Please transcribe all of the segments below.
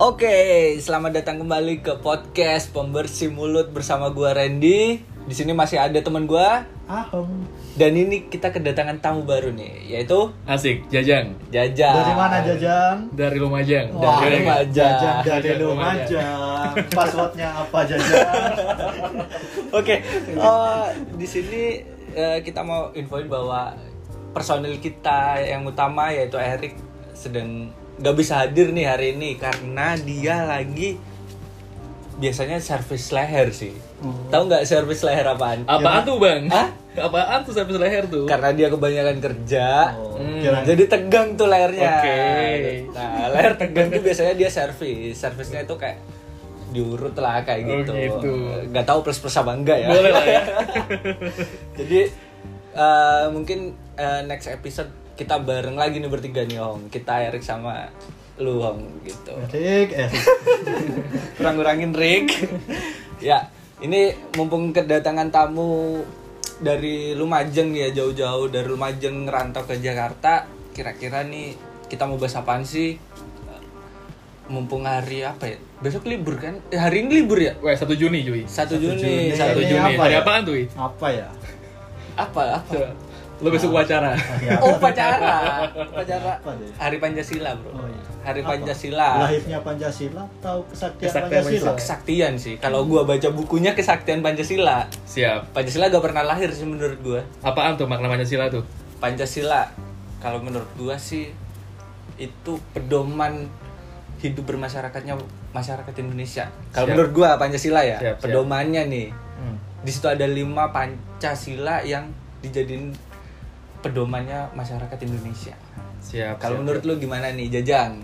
Oke, selamat datang kembali ke podcast Pembersih Mulut bersama gua Randy. Di sini masih ada teman gua Ahom. dan ini kita kedatangan tamu baru nih, yaitu Asik, Jajang. Jajang. Dari mana Jajang? Dari Lumajang. Wah. Ah, Dari Dari Lumajang. Jajang dari Jajang Lumajang. Passwordnya apa Jajang? Oke, eh, di sini eh, kita mau infoin bahwa personil kita yang utama yaitu Erik sedang nggak bisa hadir nih hari ini karena dia lagi biasanya servis leher sih. Oh. Tahu nggak servis leher apaan? Apaan tuh, Bang? Hah? Apaan tuh servis leher tuh? Karena dia kebanyakan kerja. Oh, Hmm. kirain- Jadi tegang tuh layarnya. Oke. Nah, layar tegang tuh biasanya dia servis. Servisnya itu kayak diurut lah kayak Oh, gitu. gitu. Gak tahu plus plus apa enggak ya. Boleh lah ya. Jadi eh, mungkin eh, next episode kita bareng lagi nih bertiga nih Hong. Kita Erik sama lu Hong gitu. Dik, eh. Kurang-kurangin Rick. ya, ini mumpung kedatangan tamu dari Lumajang ya jauh-jauh dari Lumajang ngerantau ke Jakarta. Kira-kira nih kita mau bahas apaan sih? Mumpung hari apa ya? Besok libur kan? Eh, hari ini libur ya? Weh, 1 Juni, cuy. 1 Juni, Juni. 1 Satu Ini Juni. Juni. apa Hari ya? apaan tuh, Wi? Apa ya? Apa apa? Coba. Lo Ah. besok wawancara. Ya, Oh, pacara. Pacara. Apa deh? Hari Pancasila, Bro. Oh, iya. Hari Apa? Pancasila. Lahirnya Pancasila atau kesaktian Kesaktian Pancasila? Kesaktian sih. Kalau gua baca bukunya Kesaktian Pancasila. Siap. Pancasila gak pernah lahir sih menurut gua. Apaan tuh makna Pancasila tuh? Pancasila kalau menurut gua sih itu pedoman hidup bermasyarakatnya masyarakat Indonesia. Kalau Siap. menurut gua Pancasila ya, Siap, siap. pedomannya nih. Di situ ada lima Pancasila yang dijadiin pedomannya masyarakat Indonesia. Siap. Kalau siap, menurut siap. lu gimana nih, Jajang?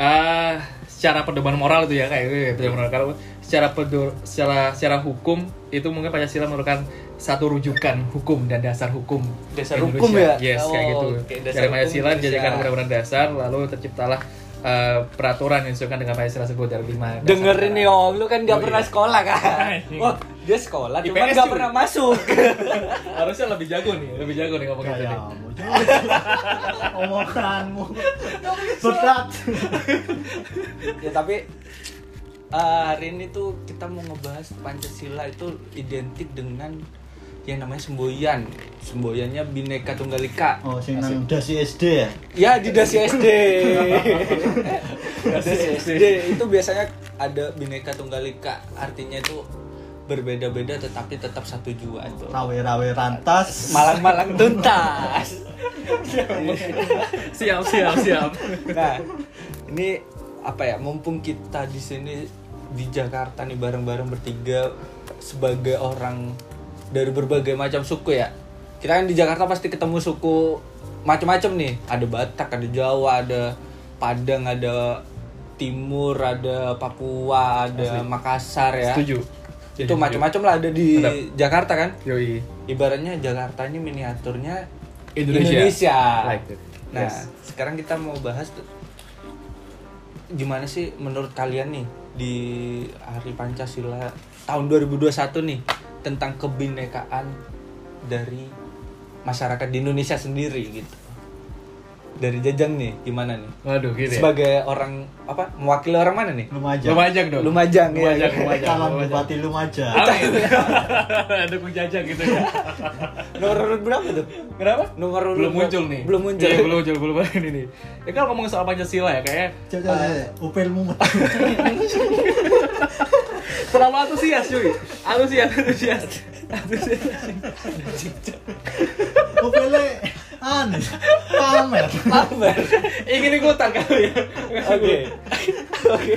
Ah, secara pedoman moral itu ya kayak gitu ya, pedoman moral. Kalau secara pedo, secara secara hukum itu mungkin Pancasila merupakan satu rujukan hukum dan dasar hukum Dasar Indonesia. hukum ya? yes Oh, kayak gitu oke, dasar dari hukum Pancasila Indonesia. dijadikan undang-undang dasar lalu terciptalah eh, peraturan yang disesuaikan dengan Pancasila tersebut dari lima dasar Dengerin nih negara. Om, lu kan gak Oh, pernah iya. sekolah kan? Anjing. Wah, dia sekolah cuman IPS gak cuy. pernah masuk. harusnya lebih jago nih lebih jago nih ngomong gitu nih Kayamu. ya, Omonganmu. Berat. ya tapi eh, hari ini tuh kita mau ngebahas Pancasila itu identik dengan yang namanya semboyan. Semboyannya Bhinneka Tunggal Ika. Oh, sing nang dasi SD ya? Ya di dasi SD. dasi SD itu biasanya ada Bhinneka Tunggal Ika. Artinya itu berbeda-beda tetapi tetap satu jua itu. Rawe-rawe rantas. Malang-malang tuntas. siap siap siap Nah, ini apa ya? Mumpung kita di sini di Jakarta nih bareng-bareng bertiga sebagai orang dari berbagai macam suku ya. Kita kan di Jakarta pasti ketemu suku macam-macam nih. Ada Batak, ada Jawa, ada Padang, ada Timur, ada Papua, ada Makassar ya. setuju Itu macam-macam lah ada di Mantap. Jakarta kan. yoi Ibaratnya Jakarta ini miniaturnya Indonesia. Indonesia. Like it. Nah, Yes. sekarang kita mau bahas tuh, gimana sih menurut kalian nih di Hari Pancasila tahun 2021 nih tentang kebinekaan dari masyarakat di Indonesia sendiri gitu. Dari Jajang nih gimana nih? waduh gitu ya Sebagai orang apa mewakili orang mana nih? Lumajang. lumajang dong Lumajang, ya. lumajang lumajang Calon lumajang. Bupati Lumajang. Amin. Dukung jajang gitu ya. Nomor urut berapa tuh? Kenapa? Nomor urut Belum berapa? muncul nih. Belum muncul. Iya, belum muncul, belum ada ini. Ya kalau ngomong soal Pancasila ya kayak Cok, cok, cok. Upilmu. terlalu antusias cuy. Antusias, antusias. Antusias. Upilnya aneh. Pamer. Ingin ikutan kali ya. Oke. Oke.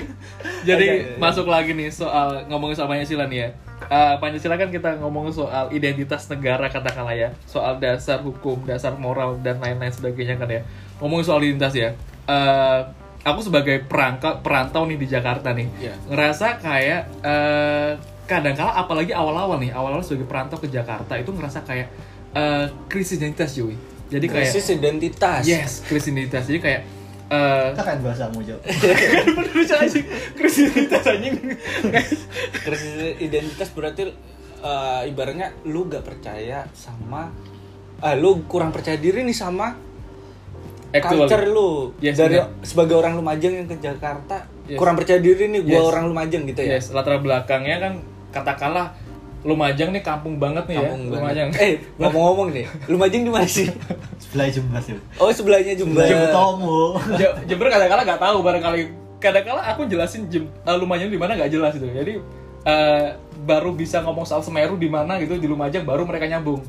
Jadi Oke, oke. masuk lagi nih soal ngomongin soal Pancasila nih ya. Eh, Pancasila kan kita ngomong soal identitas negara katakanlah ya, soal dasar hukum, dasar moral dan lain-lain sebagainya kan ya. Ngomongin soal identitas ya. Eh, aku sebagai perangka, perantau nih di Jakarta nih, Iya. ngerasa kayak eh kadang kala apalagi awal-awal nih, awal-awal sebagai perantau ke Jakarta itu ngerasa kayak eh, krisis identitas cuy. Jadi kayak Krisis identitas. yes, krisis identitas. Jadi kayak eh, Kakak bahasamu, Cok. Bener anjing, krisis identitas anjing. krisis identitas berarti eh, ibaratnya lu gak percaya sama eh, lu kurang percaya diri nih sama Actually. culture lu Yes, dari benar. sebagai orang Lumajang yang ke Jakarta Yes. kurang percaya diri nih gue Yes. orang Lumajang gitu ya. Yes, latar belakangnya kan katakanlah Lumajang nih kampung banget nih Kampung ya. banget. Lumajang. Eh ngomong-ngomong nih, Lumajang di mana sih? Sebelah jembas ya. Oh sebelahnya Jember. Jember tamu. Je- Jember kadang-kala nggak tahu barangkali kadang-kala aku jelasin Jem, eh, Lumajang di mana nggak jelas itu. Jadi eh, baru bisa ngomong soal Semeru di mana gitu di Lumajang baru mereka nyambung.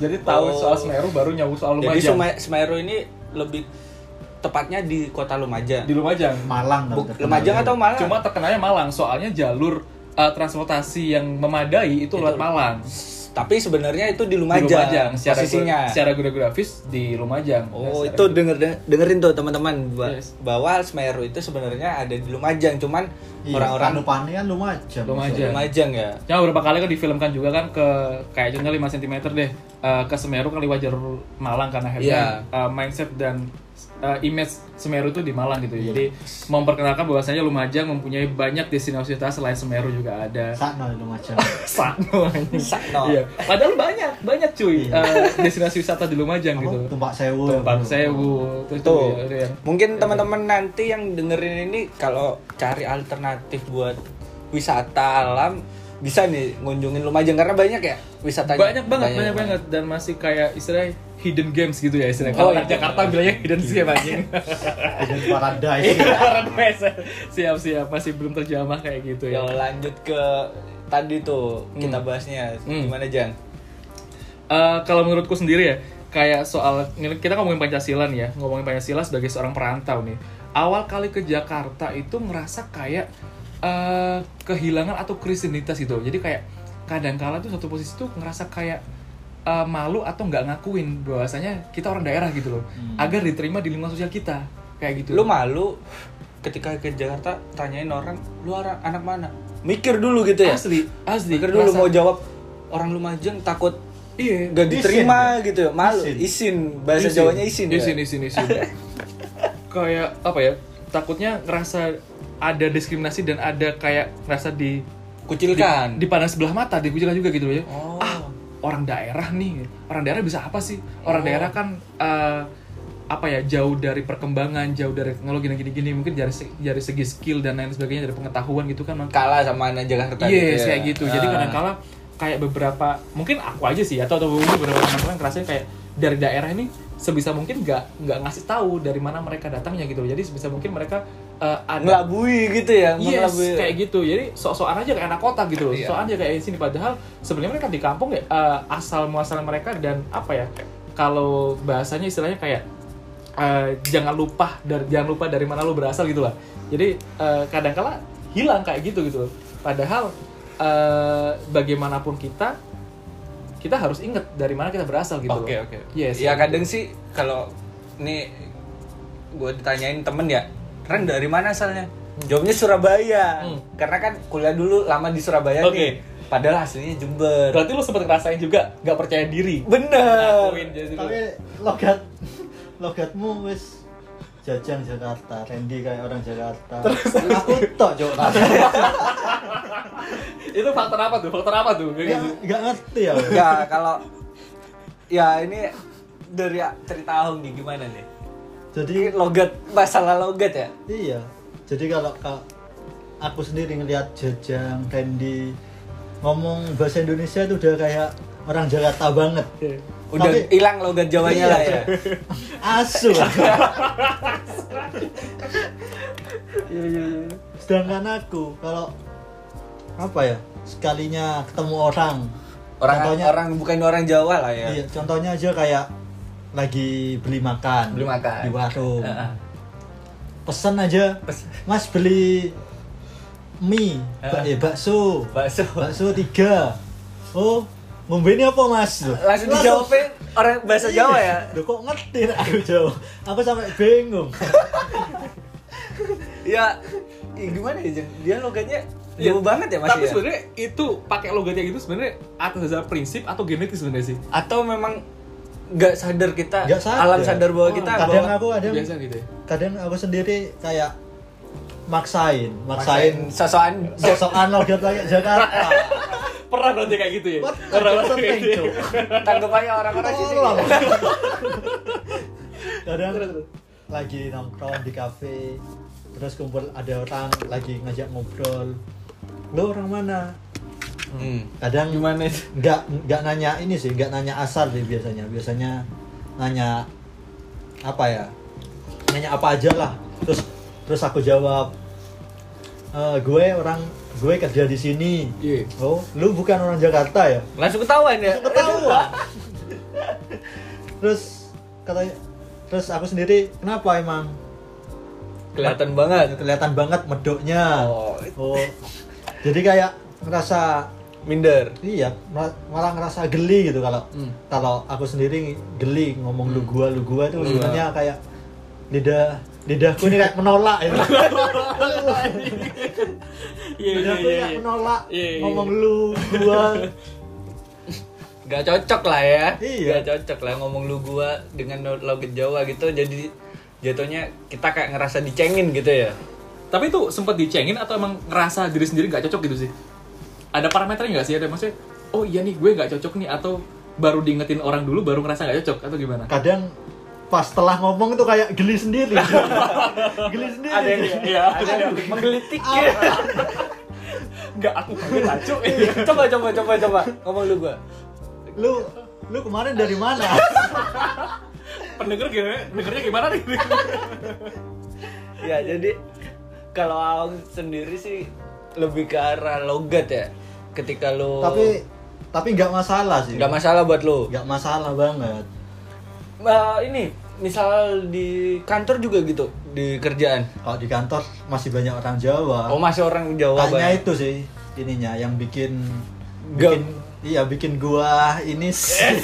Jadi tahu Oh. soal Semeru baru nyambung soal Jadi Lumajang. Suma- Semeru ini lebih tepatnya di kota Lumajang. di Lumajang. Malang Bu- terkenal. Lumajang kan? atau Malang? Cuma terkenalnya Malang soalnya jalur eh, transportasi yang memadai itu lewat Itu. Malang. tapi sebenarnya itu di Lumajang, Di Lumajang secara posisinya. secara geografis di Lumajang. Oh, itu Nah, secara- denger dengerin tuh teman-teman ba- Yes. bahwa Semeru itu sebenarnya ada di Lumajang, cuman Iya, orang-orang Panupane kan Lumajang. Lumajang. Lumajang ya. Cuma berapa kali kan difilmkan juga kan ke kayak contohnya 5 cm deh eh, ke Semeru kan lewat jalur Malang karena Iya. akhirnya eh, mindset dan eh, image Semeru itu di Malang gitu. Jadi memperkenalkan bahwasanya Lumajang mempunyai banyak destinasi wisata selain Semeru juga ada. Sakno Lumajang. Sakno anjing. Sakno. Iya. Padahal banyak, banyak cuy Iya. Oh, eh, destinasi wisata di Lumajang Apa? gitu. Tumpak Sewu. Iya. Tumpang Sewu, itu, itu, Tuh. itu yang- Mungkin teman-teman nanti yang dengerin ini kalau cari alternatif buat wisata alam bisa nih ngunjungin Lumajang karena banyak ya wisatanya. banyak banget banyak banget dan masih kayak istilahnya hidden games gitu ya istilahnya kalau Oh, anak iya. Jakarta bilangnya hidden game anjing Dengan Paradise. Iya, Paradise. siap siap masih belum terjamah kayak gitu Ya ya lanjut ke tadi tuh kita bahasnya Hmm. gimana Jang? Eh, kalau menurutku sendiri ya kayak soal kita ngomongin Pancasila nih ya ngomongin Pancasila sebagai seorang perantau nih awal kali ke Jakarta itu ngerasa kayak eh, kehilangan atau kristenitas gitu jadi kayak kadang-kala tuh satu posisi tuh ngerasa kayak eh, malu atau nggak ngakuin bahwasanya kita orang daerah gitu loh agar diterima di lingkungan sosial kita kayak gitu Lu malu ketika ke Jakarta tanyain orang lu ara- anak mana? Mikir dulu gitu ya. asli asli Mikir dulu Ngerasa- mau jawab orang Lumajang takut iya gak diterima gitu ya. Malu Isin. isin. bahasa Jawanya isin. ya? isin isin isin kayak apa ya takutnya ngerasa ada diskriminasi dan ada kayak ngerasa di Kucilkan. di pandang sebelah mata di Gujarat juga gitu loh ya Oh. ah orang daerah nih orang daerah bisa apa sih orang Oh. daerah kan eh, apa ya jauh dari perkembangan jauh dari teknologi dan gini-gini mungkin dari se- dari segi skill dan lain sebagainya dari pengetahuan gitu kan mak- kalah sama anak Jakarta ya. Iya, kayak gitu. Jadi Ah. kadang-kala kayak beberapa mungkin aku aja sih atau atau mungkin beberapa teman-teman ngerasain kayak dari daerah ini sebisa mungkin nggak nggak ngasih tahu dari mana mereka datangnya gitu. Jadi sebisa mungkin mereka eh, ada ngelabui gitu ya, Yes, mengelabui. Iya, kayak gitu. Jadi sok-sokan aja kayak anak kota gitu loh. Iya. Sokan aja kayak di sini padahal sebenarnya mereka di kampung ya eh, asal muasal mereka dan apa ya? Kalau bahasanya istilahnya kayak eh, jangan lupa dari jangan lupa dari mana lu berasal gitu lah. Jadi eh, kadang-kala hilang kayak gitu gitu. loh. Padahal eh, bagaimanapun kita kita harus inget dari mana kita berasal gitu. Oke, loh. oke. Yes. Ya kadang sih kalau nih gue ditanyain temen ya, Ren dari mana asalnya? Jawabnya Surabaya. Hmm. Karena kan kuliah dulu lama di Surabaya Oke. nih. Padahal aslinya Jember. Berarti lu sempat ngerasain juga nggak percaya diri. Bener. Ngakuin jadi lu. Tapi logat logatmu wis jajang Jakarta, Randy kayak orang Jakarta. aku tok cok. Itu faktor apa tuh? Faktor apa tuh? Iya, Kayak gitu. Enggak ngerti ya. aku. ya kalau ya ini dari cerita Ahong nih gimana nih? Ini Jadi logat masalah logat ya. Iya. Jadi kalau ka- aku sendiri ngelihat Jajang, Randy ngomong bahasa Indonesia itu udah kayak orang Jakarta banget. Iya. Udah Tapi- hilang logat Jawanya Iya. lah ya. Asu. Iya, iya, iya. Sedangkan aku kalau apa ya? Sekalinya ketemu orang. Orang contohnya, orang bukan orang Jawa lah ya. Iya, contohnya aja kayak lagi beli makan. Beli makan. Di warung. Heeh. Pesan aja. Pes- Mas beli mie, bak- Heeh. eh, bakso. bakso. Bakso tiga. Oh, ngombe ini apa mas? Loh, Langsung dijawabin orang bahasa Iya. Jawa ya. Loh kok ngerti nek aku jauh? Aku sampai bingung. Ya, ya gimana ya Jeng? dia logatnya Iya. jauh banget ya masih Tapi ya? sebenarnya itu pakai logat yang itu sebenarnya atas dasar prinsip atau genetis sebenarnya sih. Atau memang nggak sadar kita Nggak Ya, sadar. alam sadar bahwa Oh, kita kadang bahwa aku kadang Biasa gitu ya. kadang aku sendiri kayak maksain, maksain sosokan sosokan logat kayak Jakarta. Pernah berarti kayak gitu ya. What? Pernah Agak berarti kayak sering, gitu. Cuk. tanggapannya orang-orang sini. Tolong. Kadang lagi nongkrong di kafe terus kumpul ada orang lagi ngajak ngobrol lo orang mana Hmm. kadang Gimana itu? nggak nggak nanya ini sih nggak nanya asal sih biasanya biasanya nanya apa ya nanya apa aja lah terus terus aku jawab "Eh, gue orang gue kerja di sini Iya. oh lu bukan orang Jakarta ya Langsung ketahuan ya? ketawa terus katanya terus aku sendiri kenapa emang Kelihatan banget. kelihatan banget medoknya Oh, oh jadi kayak ngerasa minder. Iya, mal- malah ngerasa geli gitu kalau Hmm. kalau aku sendiri geli ngomong lu gua lu gua itu sebenarnya kayak lidah lidahku ini kayak menolak ya. Iya, iya, lidahku iya, kayak iya. menolak Iya, iya, ngomong lu gua. Gak cocok lah ya. Iya. Gak cocok lah ngomong lu gua dengan logat Jawa gitu. Jadi jatuhnya kita kayak ngerasa dicengin gitu ya. Tapi itu sempat dicengin atau emang ngerasa diri sendiri nggak cocok gitu sih? Ada parameternya nggak sih? Ada maksudnya, oh iya nih gue nggak cocok nih atau baru diingetin orang dulu baru ngerasa nggak cocok atau gimana? Kadang pas setelah ngomong itu kayak geli sendiri. geli sendiri. iya, ada yang ya. Menggelitik nggak aku kaget aja. coba coba coba coba ngomong lu gua. Lu lu kemarin dari mana? Pendengar gimana? Dengernya gimana nih? Ya, jadi kalau Aong sendiri sih lebih ke arah logat ya. Ketika lu tapi tapi nggak masalah sih. nggak masalah buat lu. Nggak masalah banget. Nah, ini misal di kantor juga gitu di kerjaan. Kalau di kantor masih banyak orang Jawa. Oh masih orang Jawa Kayaknya banyak. itu sih ininya yang bikin Gam. bikin iya bikin gua ini sih.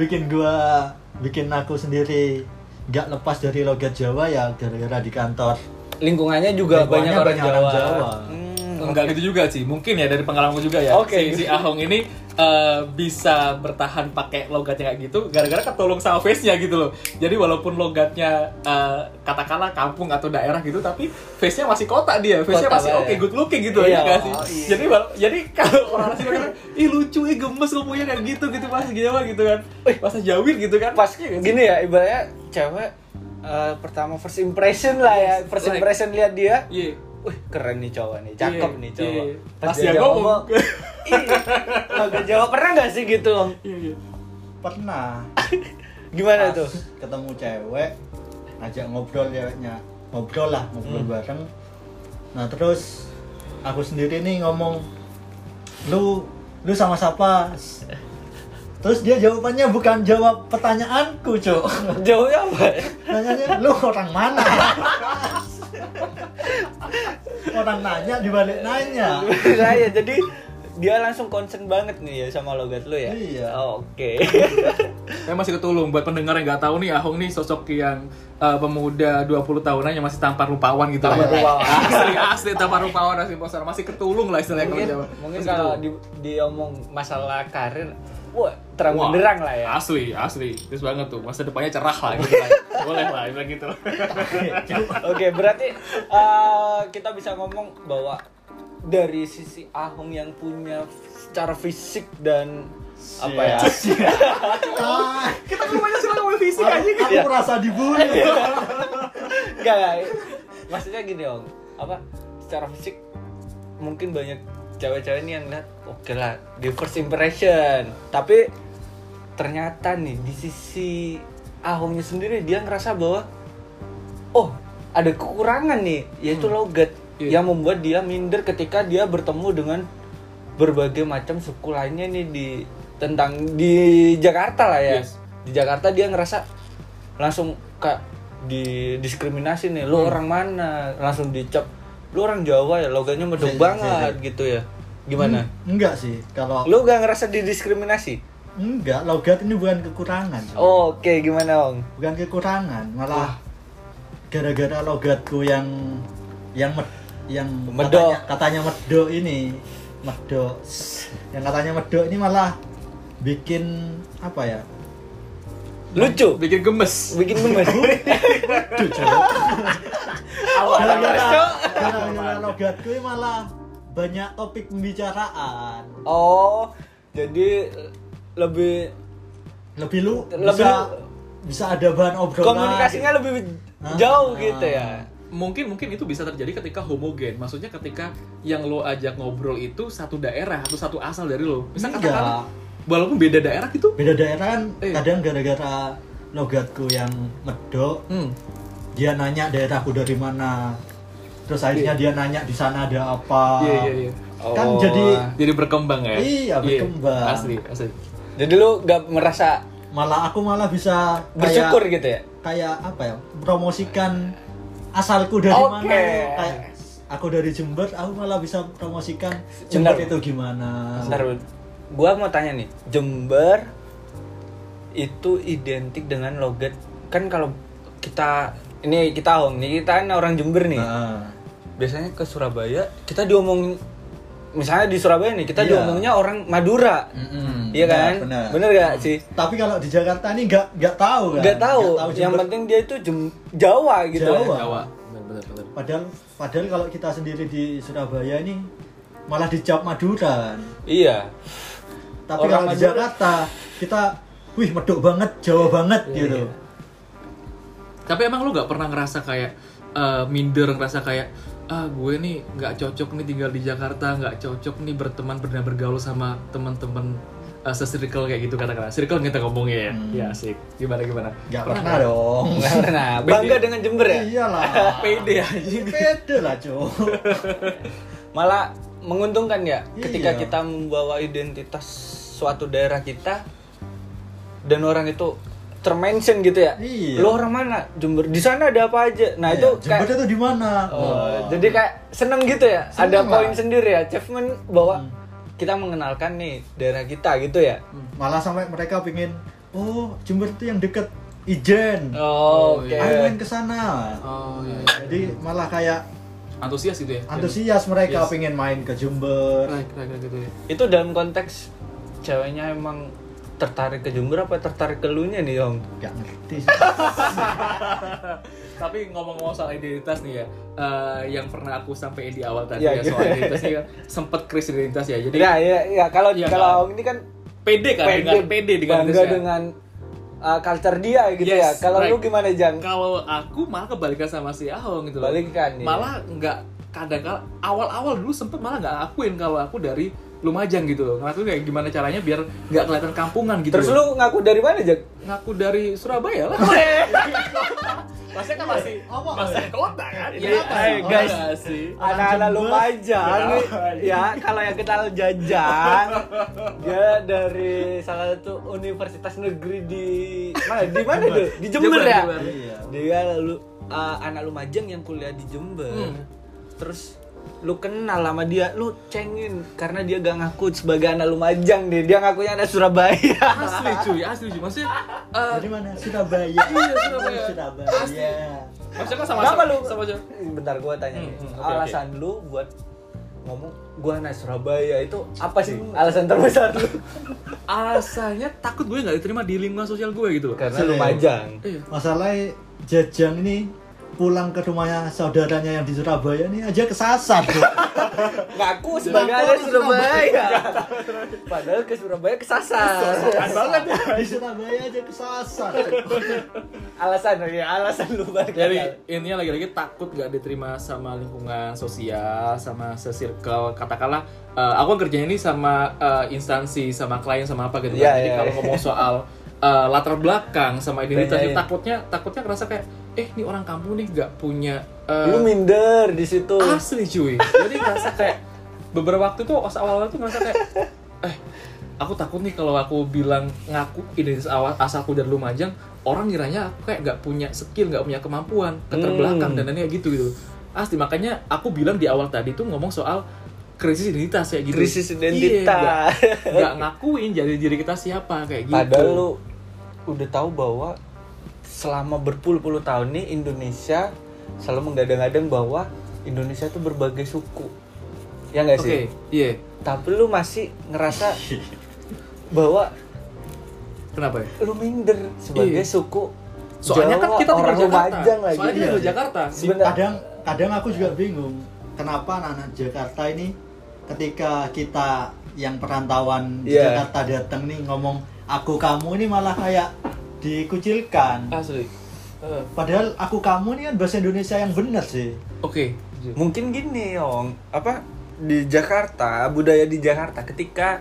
bikin gua bikin aku sendiri nggak lepas dari logat Jawa ya gara-gara di kantor. Lingkungannya juga banyak Lingkungannya orang banyak Jawa. orang Jawa. Hmm, Enggak gitu juga sih, mungkin ya dari pengalamanku juga ya. Oke. Si, si Ahong ini eh, bisa bertahan pakai logatnya kayak gitu gara-gara ketolong sama face-nya gitu loh. Jadi walaupun logatnya eh, katakanlah kampung atau daerah gitu tapi face-nya masih kota dia. Face-nya Kota masih lah oke ya. good looking gitu Iya, ya nggak sih. oh, iya. Jadi wala- jadi kalau orang asing kan ih lucu, ih gemes ngomongnya kayak gitu gitu pas Jawa gitu kan. Bahasa Jawir gitu kan. pas Iya nggak sih? gini ya ibaratnya cewek eh, pertama first impression lah ya first like- impression lihat dia Iya. wih keren nih cowok nih cakep Iya, nih cowok iya. pas Pas dia dia jawab ngomong. ih agak jawab pernah nggak sih gitu Om? Iya, iya. Pernah gimana pas tuh ketemu cewek ngajak ngobrol ceweknya ngobrol lah ngobrol bareng nah terus aku sendiri nih ngomong lu lu sama siapa terus dia jawabannya bukan jawab pertanyaanku cok jauhnya apa ya? nanyanya lu orang mana orang nanya dibalik nanya saya jadi dia langsung concern banget nih ya sama logat lu ya Iya. Eh, Oh, oke Saya masih ketulung buat pendengar yang nggak tahu nih Ahong nih sosok yang eh, pemuda 20 tahunan yang masih tampar rupawan gitu. Tampar rupawan. asli asli tampar rupawan asli poster masih ketulung lah istilahnya kalau mungkin Jawa. mungkin Masih kalau ketulung. di diomong masalah karir wah terang Wah, benderang lah ya Asli asli terus banget tuh masa depannya cerah lah gitu lah. Boleh lah bilang gitu. Oke, berarti eh, kita bisa ngomong bahwa dari sisi Ahong yang punya secara fisik dan apa ya? Ah, Kita kan banyak sih ngomongin fisik aku, Iya. aku merasa dibully Enggak, enggak. Maksudnya gini, Om. Apa? Secara fisik mungkin banyak cewek-cewek ini yang lihat, oke lah, di first impression. Tapi ternyata nih di sisi Ahongnya sendiri dia ngerasa bahwa oh, ada kekurangan nih, yaitu logat Iya. yang membuat dia minder ketika dia bertemu dengan berbagai macam suku lainnya nih di tentang di Jakarta lah ya. Yes. Di Jakarta dia ngerasa langsung kayak di diskriminasi nih, Hmm. lu orang mana? Langsung dicap lu orang Jawa ya, logatnya medok Iya, iya, banget gitu ya. Gimana? enggak sih kalau Lu gak ngerasa didiskriminasi? Enggak, logat ini bukan kekurangan. Cok. Oh, Oke, gimana, Om? Bukan kekurangan, malah gara-gara logatku yang yang med, yang Medok. katanya, katanya medok ini, medok. Yang katanya medok ini malah bikin apa ya? Lucu. Bikin gemes. Bikin gemes. Aduh, Cok. Cok. gara-gara gara-gara logatku ini malah banyak topik pembicaraan. Oh, jadi lebih Lebih lu Lebih bisa lu- bisa ada bahan obrolan. gitu. komunikasinya lebih Ah. jauh gitu ya. mungkin mungkin itu bisa terjadi ketika homogen maksudnya ketika yang lo ajak ngobrol itu satu daerah atau satu asal dari lo misal Iya. Enggak. katakan walaupun beda daerah gitu beda daerah kan Iya. kadang gara-gara logatku yang medok hmm, dia nanya daerahku dari mana terus akhirnya dia nanya di sana ada apa Iya, iya, iya. kan Oh. jadi jadi berkembang ya Iya, berkembang. asli asli Jadi lu gak merasa malah aku malah bisa kayak- bersyukur gitu ya? kayak apa ya promosikan asalku dari Oke. mana kayak aku dari Jember aku malah bisa promosikan Jember Benar. itu gimana Bentar, Bud. gua mau tanya nih, Jember itu identik dengan logat kan kalau kita ini kita home nih kita kan orang Jember nih. Nah, Biasanya ke Surabaya kita diomong misalnya di Surabaya nih kita Iya. diomongnya orang Madura. Mm-mm. Iya Benar, kan? benar. Bener gak sih? tapi kalau di Jakarta ini nggak nggak tahu kan Gak tahu. Yang Jember. penting dia itu Jem- Jawa gitu. Jawa. kan. Jawa benar benar benar padahal padahal kalau kita sendiri di Surabaya ini malah dicap Madura kan. Iya. tapi Orang kalau di Madura. Jakarta kita wih medok banget Jawa banget Iya, gitu tapi emang lu nggak pernah ngerasa kayak eh, minder ngerasa kayak ah gue nih nggak cocok nih tinggal di Jakarta nggak cocok nih berteman pernah bergaul sama teman-teman eh, se-circle kayak gitu katakanlah circle kita ngomongnya ya ya asik gimana gimana Hmm. nggak pernah dong Nggak pernah. Bangga dengan Jember ya? iyalah pede aja pede lah cuy malah menguntungkan ya Iya. ketika kita membawa identitas suatu daerah kita dan orang itu termention gitu ya Iya. lo orang mana Jember di sana ada apa aja nah Iya, itu Jember kayak itu di mana? Oh, jadi kayak seneng gitu ya Seneng ada lah. poin sendiri ya achievement Hmm. bahwa kita mengenalkan nih daerah kita gitu ya Hmm. malah sampai mereka pingin, oh Jember itu yang deket Hmm. Ijen. oh, oke Ayo iya. main ke sana. oh iya Jadi malah kayak antusias gitu ya antusias mereka pengen main ke Jember. Keren, keren, keren gitu ya itu dalam konteks ceweknya emang tertarik ke Jember apa tertarik ke lu nih om Gak ngerti. sih. tapi ngomong-ngomong soal identitas nih ya eh, yang pernah aku sampein di awal tadi Ya, Iya, ya, soal gimana? identitas nih kan sempet kris identitas ya jadi ya ya ya kalau Iya, kan? kalau Om ini kan pede kan dengan pede dengan bangga identitasnya. dengan uh, culture dia gitu Yes, ya kalau lu right. gimana jang kalau aku malah kebalikan sama si Ahong gitu loh. Balikan, iya. Malah nggak kadang kala awal-awal dulu sempet malah nggak ngakuin kalau aku dari Lumajang gitu loh. Karena tuh kayak gimana caranya biar nggak kelihatan kampungan gitu. terus lu ngaku dari mana jang ngaku dari Surabaya lah. Maksudnya kan masih Apa? masih kota kan? Iya, apa eh, sih? guys. Apa sih? anak-anak Jember. lumajang Kenapa? ya kalau yang kenal jajang dia dari salah satu universitas negeri di mana di mana tuh di Jember, Jember, ya Jember. Iya. dia lalu uh, anak lumajang yang kuliah di Jember Hmm. terus lu kenal sama dia lu cengin karena dia gak ngaku sebagai anak lumajang deh dia ngakunya anak Surabaya Asli cuy, asli cuy. Maksudnya eh, Dari mana? Surabaya. Iya, Surabaya. Surabaya. Pasti. maksudnya kan sama Kenapa lu? sama aja. Bentar gua tanya Hmm, nih. hmm, oke, alasan lu buat ngomong gua anak Surabaya itu apa sih? Hmm. Alasan terbesar lu? Alasannya takut gue nggak diterima di lingkungan sosial gue gitu loh. Karena Lumajang. Iya. Masalahnya Jajang ini pulang ke rumahnya saudaranya yang di Surabaya ini aja kesasar. Bro. Ngaku sebagai anak Surabaya. Padahal ke Surabaya kesasar. di Surabaya aja kesasar. alasan ya, alasan lu balik. Jadi intinya lagi-lagi takut gak diterima sama lingkungan sosial, sama se-circle katakanlah eh, aku kan kerjanya ini sama eh, instansi, sama klien, sama apa gitu kan. Iya, Jadi iya, kalau iya. ngomong soal eh, latar belakang sama identitas Tanyain. itu takutnya takutnya ngerasa kayak eh ini orang kampung nih gak punya eh, Lu minder di situ. asli cuy. Jadi ngerasa kayak beberapa waktu tuh pas awal-awal tuh ngerasa kayak eh aku takut nih kalau aku bilang ngaku identitas awal asalku dari Lumajang orang ngiranya aku kayak nggak punya skill nggak punya kemampuan keterbelakang Hmm. dan lainnya gitu gitu asli makanya aku bilang di awal tadi tuh ngomong soal krisis identitas kayak gitu Krisis Iya, identitas. nggak- nggak ngakuin jadi diri kita siapa kayak gitu Padahal lu udah tahu bahwa selama berpuluh-puluh tahun nih Indonesia selalu menggadang-gadang bahwa Indonesia itu berbagai suku. Ya oke enggak sih? iya Tapi lu masih ngerasa bahwa kenapa ya lu minder sebagai Iya. suku Jawa, soalnya kan kita tinggal orang di Jakarta Lumajang lagi. soalnya kita Iya. tinggal di Jakarta Sebentar. Kadang kadang aku juga bingung kenapa anak-anak Jakarta ini ketika kita yang perantauan di Iya. Jakarta datang nih ngomong aku kamu ini malah kayak dikucilkan. asli Eh, Padahal aku kamu nih kan bahasa Indonesia yang benar sih. Oke. mungkin gini Yong apa di Jakarta budaya di Jakarta ketika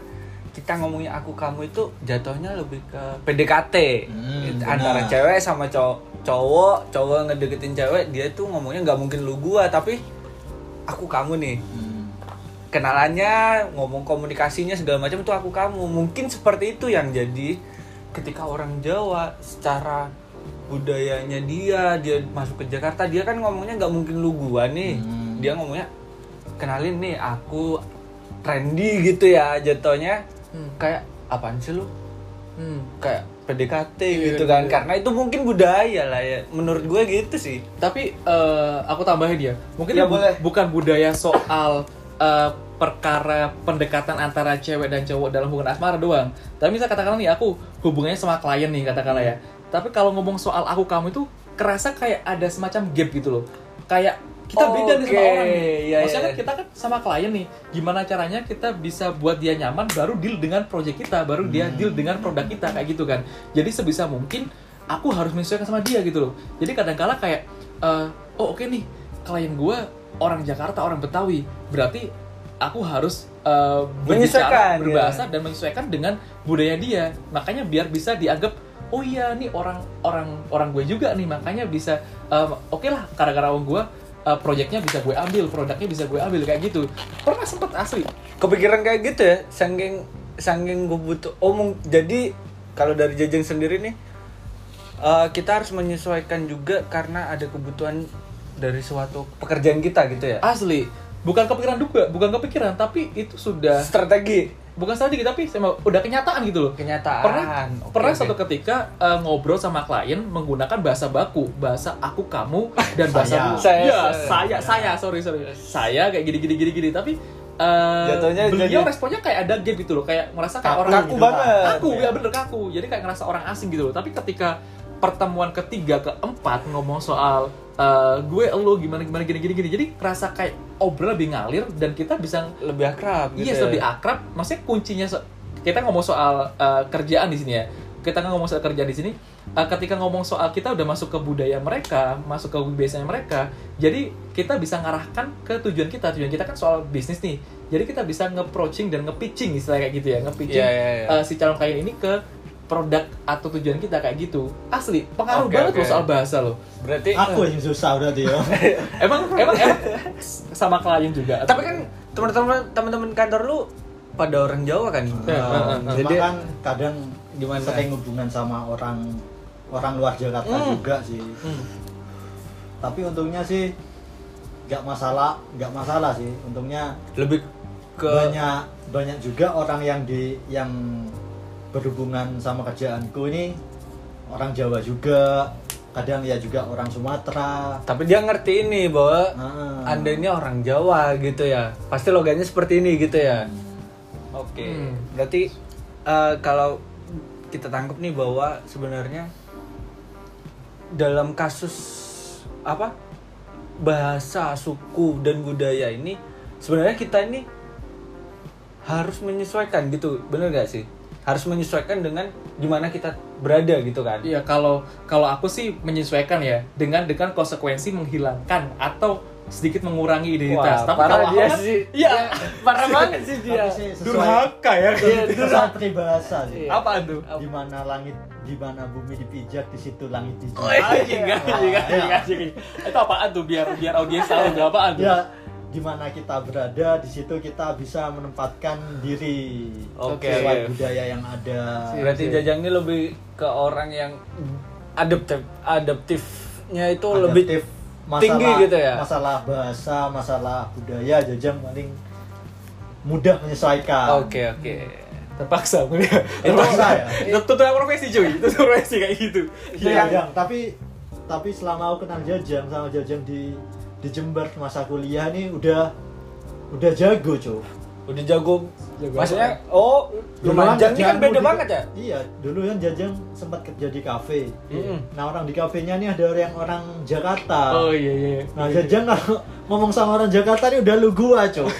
kita ngomongnya aku kamu itu jatuhnya lebih ke PDKT Hmm, antara benar. cewek sama cowok cowok cowok ngedeketin cewek dia tuh ngomongnya nggak mungkin lu gua tapi aku kamu nih kenalannya ngomong komunikasinya segala macam itu aku kamu mungkin seperti itu yang jadi ketika orang Jawa secara budayanya dia dia masuk ke Jakarta dia kan ngomongnya nggak mungkin lu gua nih Hmm. dia ngomongnya kenalin nih aku trendy gitu ya jatuhnya Hmm. kayak apaan sih lu Hmm. kayak PDKT Iya, gitu kan iya. karena itu mungkin budaya lah ya menurut gue gitu sih Tapi eh, aku tambahin ya, mungkin Ya, bu- boleh. bukan budaya soal eh, perkara pendekatan antara cewek dan cowok dalam hubungan asmara doang. Tapi misal katakanlah nih aku hubungannya sama klien nih katakanlah Iya. ya. Tapi kalau ngomong soal aku kamu itu kerasa kayak ada semacam gap gitu loh. Kayak kita beda nih sama Oke, orang. nih. iya, Maksudnya iya. kan kita kan sama klien nih. Gimana caranya kita bisa buat dia nyaman baru deal dengan project kita, baru dia deal dengan produk kita kayak gitu kan. Jadi sebisa mungkin aku harus menyesuaikan sama dia gitu loh. Jadi kadang-kala kayak eh, oh oke nih klien gue orang Jakarta, orang Betawi. Berarti aku harus eh, Menyesuaikan, berbicara, berbahasa dan menyesuaikan dengan budaya dia. Makanya biar bisa dianggap oh iya nih orang orang orang gue juga nih makanya bisa um, oke lah gara-gara orang gue uh, proyeknya bisa gue ambil produknya bisa gue ambil kayak gitu pernah sempet asli kepikiran kayak gitu ya sangking sangking gue butuh oh mung- jadi kalau dari jajang sendiri nih eh, kita harus menyesuaikan juga karena ada kebutuhan dari suatu pekerjaan kita gitu ya asli bukan kepikiran juga bukan kepikiran tapi itu sudah strategi bukan strategi tapi sama- udah kenyataan gitu loh kenyataan pernah Oke, pernah oke. satu ketika uh, ngobrol sama klien menggunakan bahasa baku bahasa aku kamu dan bahasa Saya. ya Saya. saya saya sorry sorry saya kayak gini gini gini gini tapi uh, Jatuhnya beliau jadi- responnya kayak ada gap gitu loh kayak merasa kayak Kaku orang kaku gitu banget Iya. kaku ya bener kaku jadi kayak ngerasa orang asing gitu loh tapi ketika pertemuan ketiga keempat ngomong soal eh, gue elu gimana gimana gini gini gini jadi kerasa kayak obrolan lebih ngalir dan kita bisa lebih akrab gitu Iya, ya. lebih akrab. Maksudnya kuncinya so- kita ngomong soal uh, kerjaan di sini ya. Kita nggak ngomong soal kerjaan di sini. uh, ketika ngomong soal kita udah masuk ke budaya mereka, masuk ke biasanya mereka. Jadi kita bisa ngarahkan ke tujuan kita. Tujuan kita kan soal bisnis nih. Jadi kita bisa nge-approaching dan nge-pitching istilah kayak gitu ya, nge-pitching Iya, iya, iya. uh, si calon klien ini ke produk atau tujuan kita kayak gitu. Asli, Oke, pengaruh banget oke. loh soal bahasa loh. berarti Aku yang susah berarti ya. Emang emang, emang sama klien juga. tapi kan teman-teman teman-teman kantor lu pada orang Jawa kan Ya, Nah, eh, eh, Jadi kan kadang Gimana? sering hubungan sama orang orang luar Jakarta Hmm. juga sih. Tapi untungnya sih nggak masalah, nggak masalah sih. Untungnya lebih ke banyak banyak juga orang yang di yang berhubungan sama kerjaanku ini orang Jawa juga, kadang ya juga orang Sumatera. tapi dia ngerti ini bahwa Ah. anda ini orang Jawa gitu ya pasti logannya seperti ini gitu ya oke Hmm. berarti eh, kalau kita tangkap nih bahwa sebenarnya dalam kasus apa bahasa suku dan budaya ini sebenarnya kita ini harus menyesuaikan gitu bener gak sih harus menyesuaikan dengan gimana kita berada gitu kan Iya kalau kalau aku sih menyesuaikan ya dengan dengan konsekuensi menghilangkan atau sedikit mengurangi identitas. Wah, Tapi parah kalau dia aku kan- sih. Iya. parah banget sih dia Tapi sih sesuai, Durhaka ya. sesuai peribahasa sih. Iya. Apaan tuh? di mana langit di mana bumi dipijak di situ langit dijunjung. Oh, iya. Anjing, anjing, anjing, Ya. anjing. iya, Itu apaan tuh biar biar audiens tahu itu apaan tuh? Iya. Ya, di mana kita berada di situ kita bisa menempatkan diri Oke. sesuai budaya yang ada. iya. Berarti Oke. Jajang ini lebih ke orang yang adaptif, adaptifnya itu lebih Adaptif, masalah, tinggi gitu ya? Masalah bahasa, masalah budaya jajang paling mudah menyesuaikan. Oke oke. Terpaksa melihat. Terpaksa ya. Tutup profesi cuy, tutup profesi kayak gitu. Iya, Jang. tapi tapi selama aku kenal Jajang sama Jajang di di Jember masa kuliah nih udah udah jago, Cuk. Udah jago. Jago Maksudnya oh Lumajang ini kan kerjaanmu beda di- banget ya. Iya, dulu kan Jajang sempat kerja di kafe. Mm-mm. Nah, orang di kafenya nih ada orang orang Jakarta. Oh iya iya. Nah, Jajang kalau ngomong sama orang Jakarta nih udah lu gua, Cuk.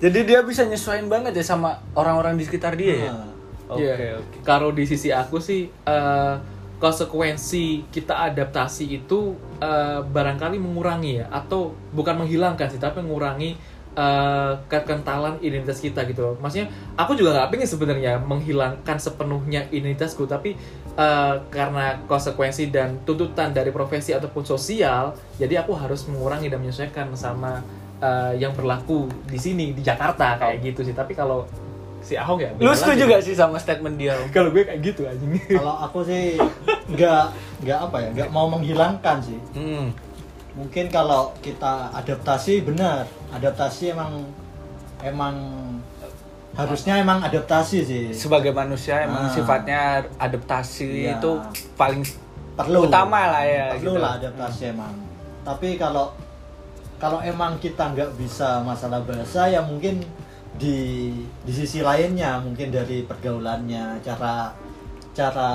Jadi dia bisa nyesuaiin banget ya Hmm. sama orang-orang di sekitar dia ya. Nah, Oke Iya. oke. Kalau di sisi aku sih eh, konsekuensi kita adaptasi itu eh, barangkali mengurangi ya atau bukan menghilangkan sih tapi mengurangi eh, kekentalan identitas kita gitu loh. Maksudnya aku juga nggak pengen sebenarnya menghilangkan sepenuhnya identitasku tapi eh, karena konsekuensi dan tuntutan dari profesi ataupun sosial jadi aku harus mengurangi dan menyesuaikan sama eh, yang berlaku di sini di Jakarta kayak gitu sih. Tapi kalau si Ahok ya Lu beda setuju lagi. gak sih sama statement dia? Kalau gue kayak gitu anjing. kalau aku sih nggak nggak apa ya nggak mau menghilangkan sih Hmm. mungkin kalau kita adaptasi benar adaptasi emang emang harusnya emang adaptasi sih Sebagai manusia emang Ah. sifatnya adaptasi Iya. itu paling perlu utama lah ya. perlu gitu. lah adaptasi emang tapi kalau kalau emang kita nggak bisa masalah bahasa ya mungkin di di sisi lainnya mungkin dari pergaulannya cara cara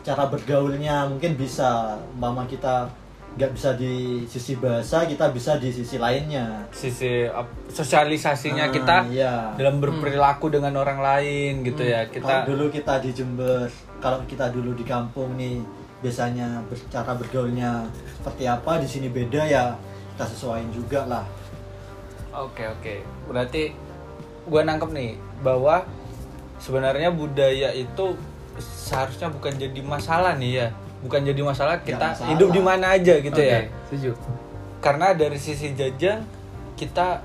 cara bergaulnya mungkin bisa mama kita nggak bisa di sisi bahasa kita bisa di sisi lainnya Sisi ap- sosialisasinya Ah, kita iya. Hmm. dalam berperilaku dengan orang lain gitu ya. Kita Kalau dulu kita di Jember, kalau kita dulu di kampung nih biasanya ber- cara bergaulnya seperti apa di sini beda ya kita sesuaiin juga lah. Oke oke, berarti gue nangkep nih bahwa sebenarnya budaya itu seharusnya bukan jadi masalah nih ya, bukan jadi masalah Nggak kita masalah. hidup di mana aja gitu Oke, ya. Setuju. Karena dari sisi jajan kita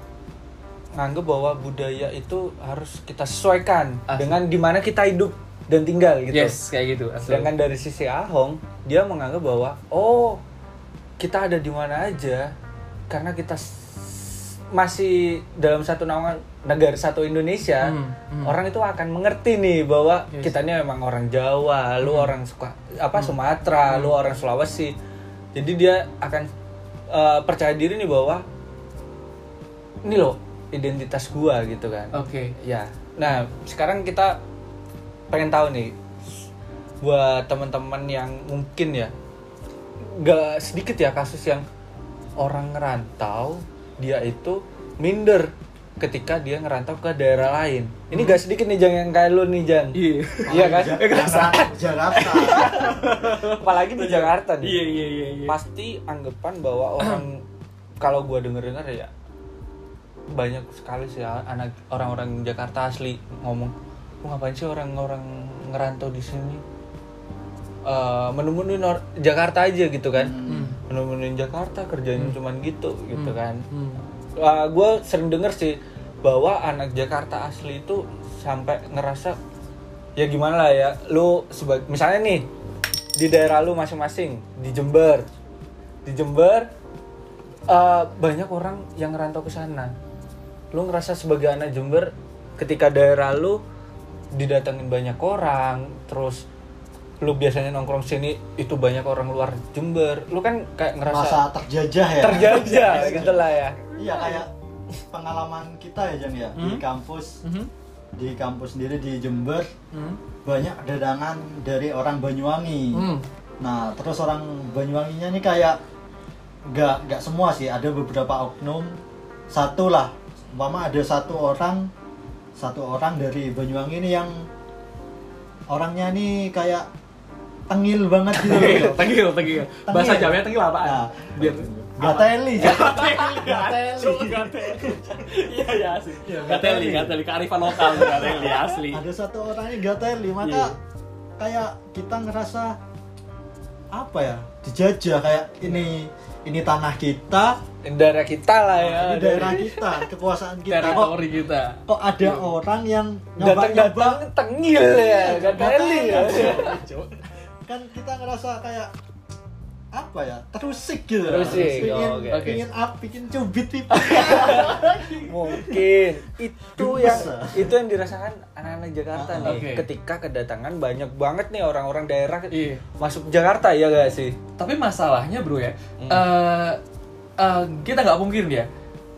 nganggep bahwa budaya itu harus kita sesuaikan Asli. dengan di mana kita hidup dan tinggal gitu. Yes, kayak gitu. asli. Sedangkan dari sisi Ahong, dia menganggap bahwa oh kita ada di mana aja karena kita s- masih dalam satu naungan negara satu Indonesia, Hmm, hmm. orang itu akan mengerti nih bahwa Yes. Hmm. kita ini memang orang Jawa, lu orang suka apa Sumatera, lu orang Sulawesi. Jadi dia akan eh, percaya diri nih bahwa ini loh identitas gua gitu kan. Oke. Ya. Nah, sekarang kita pengen tahu nih buat teman-teman yang mungkin ya nggak sedikit ya kasus yang orang ngerantau dia itu minder ketika dia ngerantau ke daerah lain. Ini gak sedikit nih Jang yang kayak lu nih Jang. Hmm. Iya. Iya kan? Ja- Jakarta, Jakarta. Apalagi di Jakarta nih. Iya, iya, iya, iya. pasti anggapan bahwa orang kalau gua denger denger ya banyak sekali sih anak orang-orang Jakarta asli ngomong lu ngapain sih orang-orang ngerantau di sini Eh menemuin or- Jakarta aja gitu kan Hmm. menemuin Jakarta kerjanya cuman gitu gitu kan Hmm. gue sering denger sih bahwa anak Jakarta asli itu sampai ngerasa ya gimana lah ya lu sebagai misalnya nih di daerah lu masing-masing di Jember di Jember eh, banyak orang yang ngerantau ke sana lu ngerasa sebagai anak Jember ketika daerah lu didatengin banyak orang terus lu biasanya nongkrong sini itu banyak orang luar Jember lu kan kayak ngerasa Masa terjajah ya. terjajah gitu lah ya Iya kayak pengalaman kita ya Jan ya di kampus Mhm. di kampus sendiri di Jember Hmm. banyak dadangan dari orang Banyuwangi. Hmm. Nah, terus orang Banyuwanginya nih kayak nggak nggak semua sih, ada beberapa oknum. Satu lah, umpama ada satu orang, satu orang dari Banyuwangi ini yang orangnya nih kayak tengil banget gitu Tegil, loh. tegil, tegil. Bahasa Tengil. Jawanya tegil apaan? Nah, Biar Gateli. Gateli. Gateli. Iya, iya asli. Iya, Gateli. Gateli, Gateli kearifan lokal Gateli asli. ada satu orangnya gateli maka kayak kita ngerasa apa ya dijajah kayak ini ini tanah kita daerah kita lah ya ini daerah kita kekuasaan kita kok, Teritori kita. kok ada orang yang datang nyoba-nyoba datang tengil ya gak teli ya kan kita ngerasa kayak apa ya terusik gitu Terusik, pingin, oh, oke. pingin up pingin cubit pipi mungkin itu Bisa. yang itu yang dirasakan anak-anak Jakarta Ah, nih oke. ketika kedatangan banyak banget nih orang-orang daerah ke- Iya. masuk Jakarta ya gak sih tapi masalahnya bro ya Hmm. eh, eh, kita nggak mungkin ya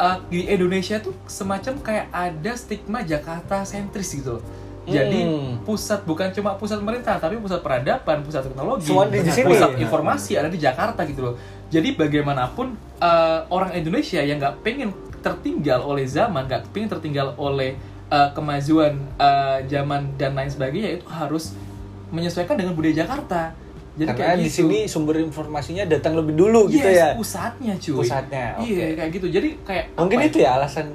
eh, di Indonesia tuh semacam kayak ada stigma Jakarta sentris gitu loh. Jadi Hmm. pusat bukan cuma pusat pemerintah tapi pusat peradaban, pusat teknologi, Semua di sini. pusat informasi ada di Jakarta gitu loh. Jadi bagaimanapun eh, orang Indonesia yang nggak pengen tertinggal oleh zaman, nggak pengen tertinggal oleh eh, kemajuan eh, zaman dan lain sebagainya itu harus menyesuaikan dengan budaya Jakarta. Jadi Karena kayak di gitu. sini sumber informasinya datang lebih dulu gitu ya. Yes, pusatnya cuy. Pusatnya, Iya, oke. kayak gitu. Jadi kayak Mungkin apa itu ya alasan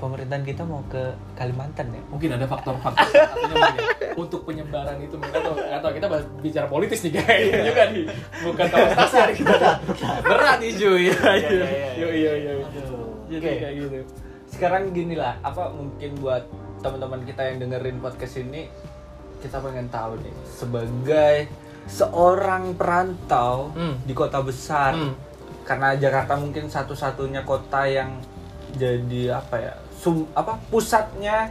pemerintahan kita mau ke Kalimantan ya. mungkin ada faktor-faktor salah satunya mungkin ya. untuk penyebaran itu mungkin atau atau kita bahas, bicara politis nih kayaknya juga nih bukan tahu sasar gitu berat nih cuy iya iya iya iya iya. jadi Oke. kayak gitu Sekarang gini lah, apa mungkin buat teman-teman kita yang dengerin podcast ini kita pengen tahu nih sebagai seorang perantau Hmm. di kota besar Hmm. karena Jakarta mungkin satu-satunya kota yang jadi apa ya sum apa pusatnya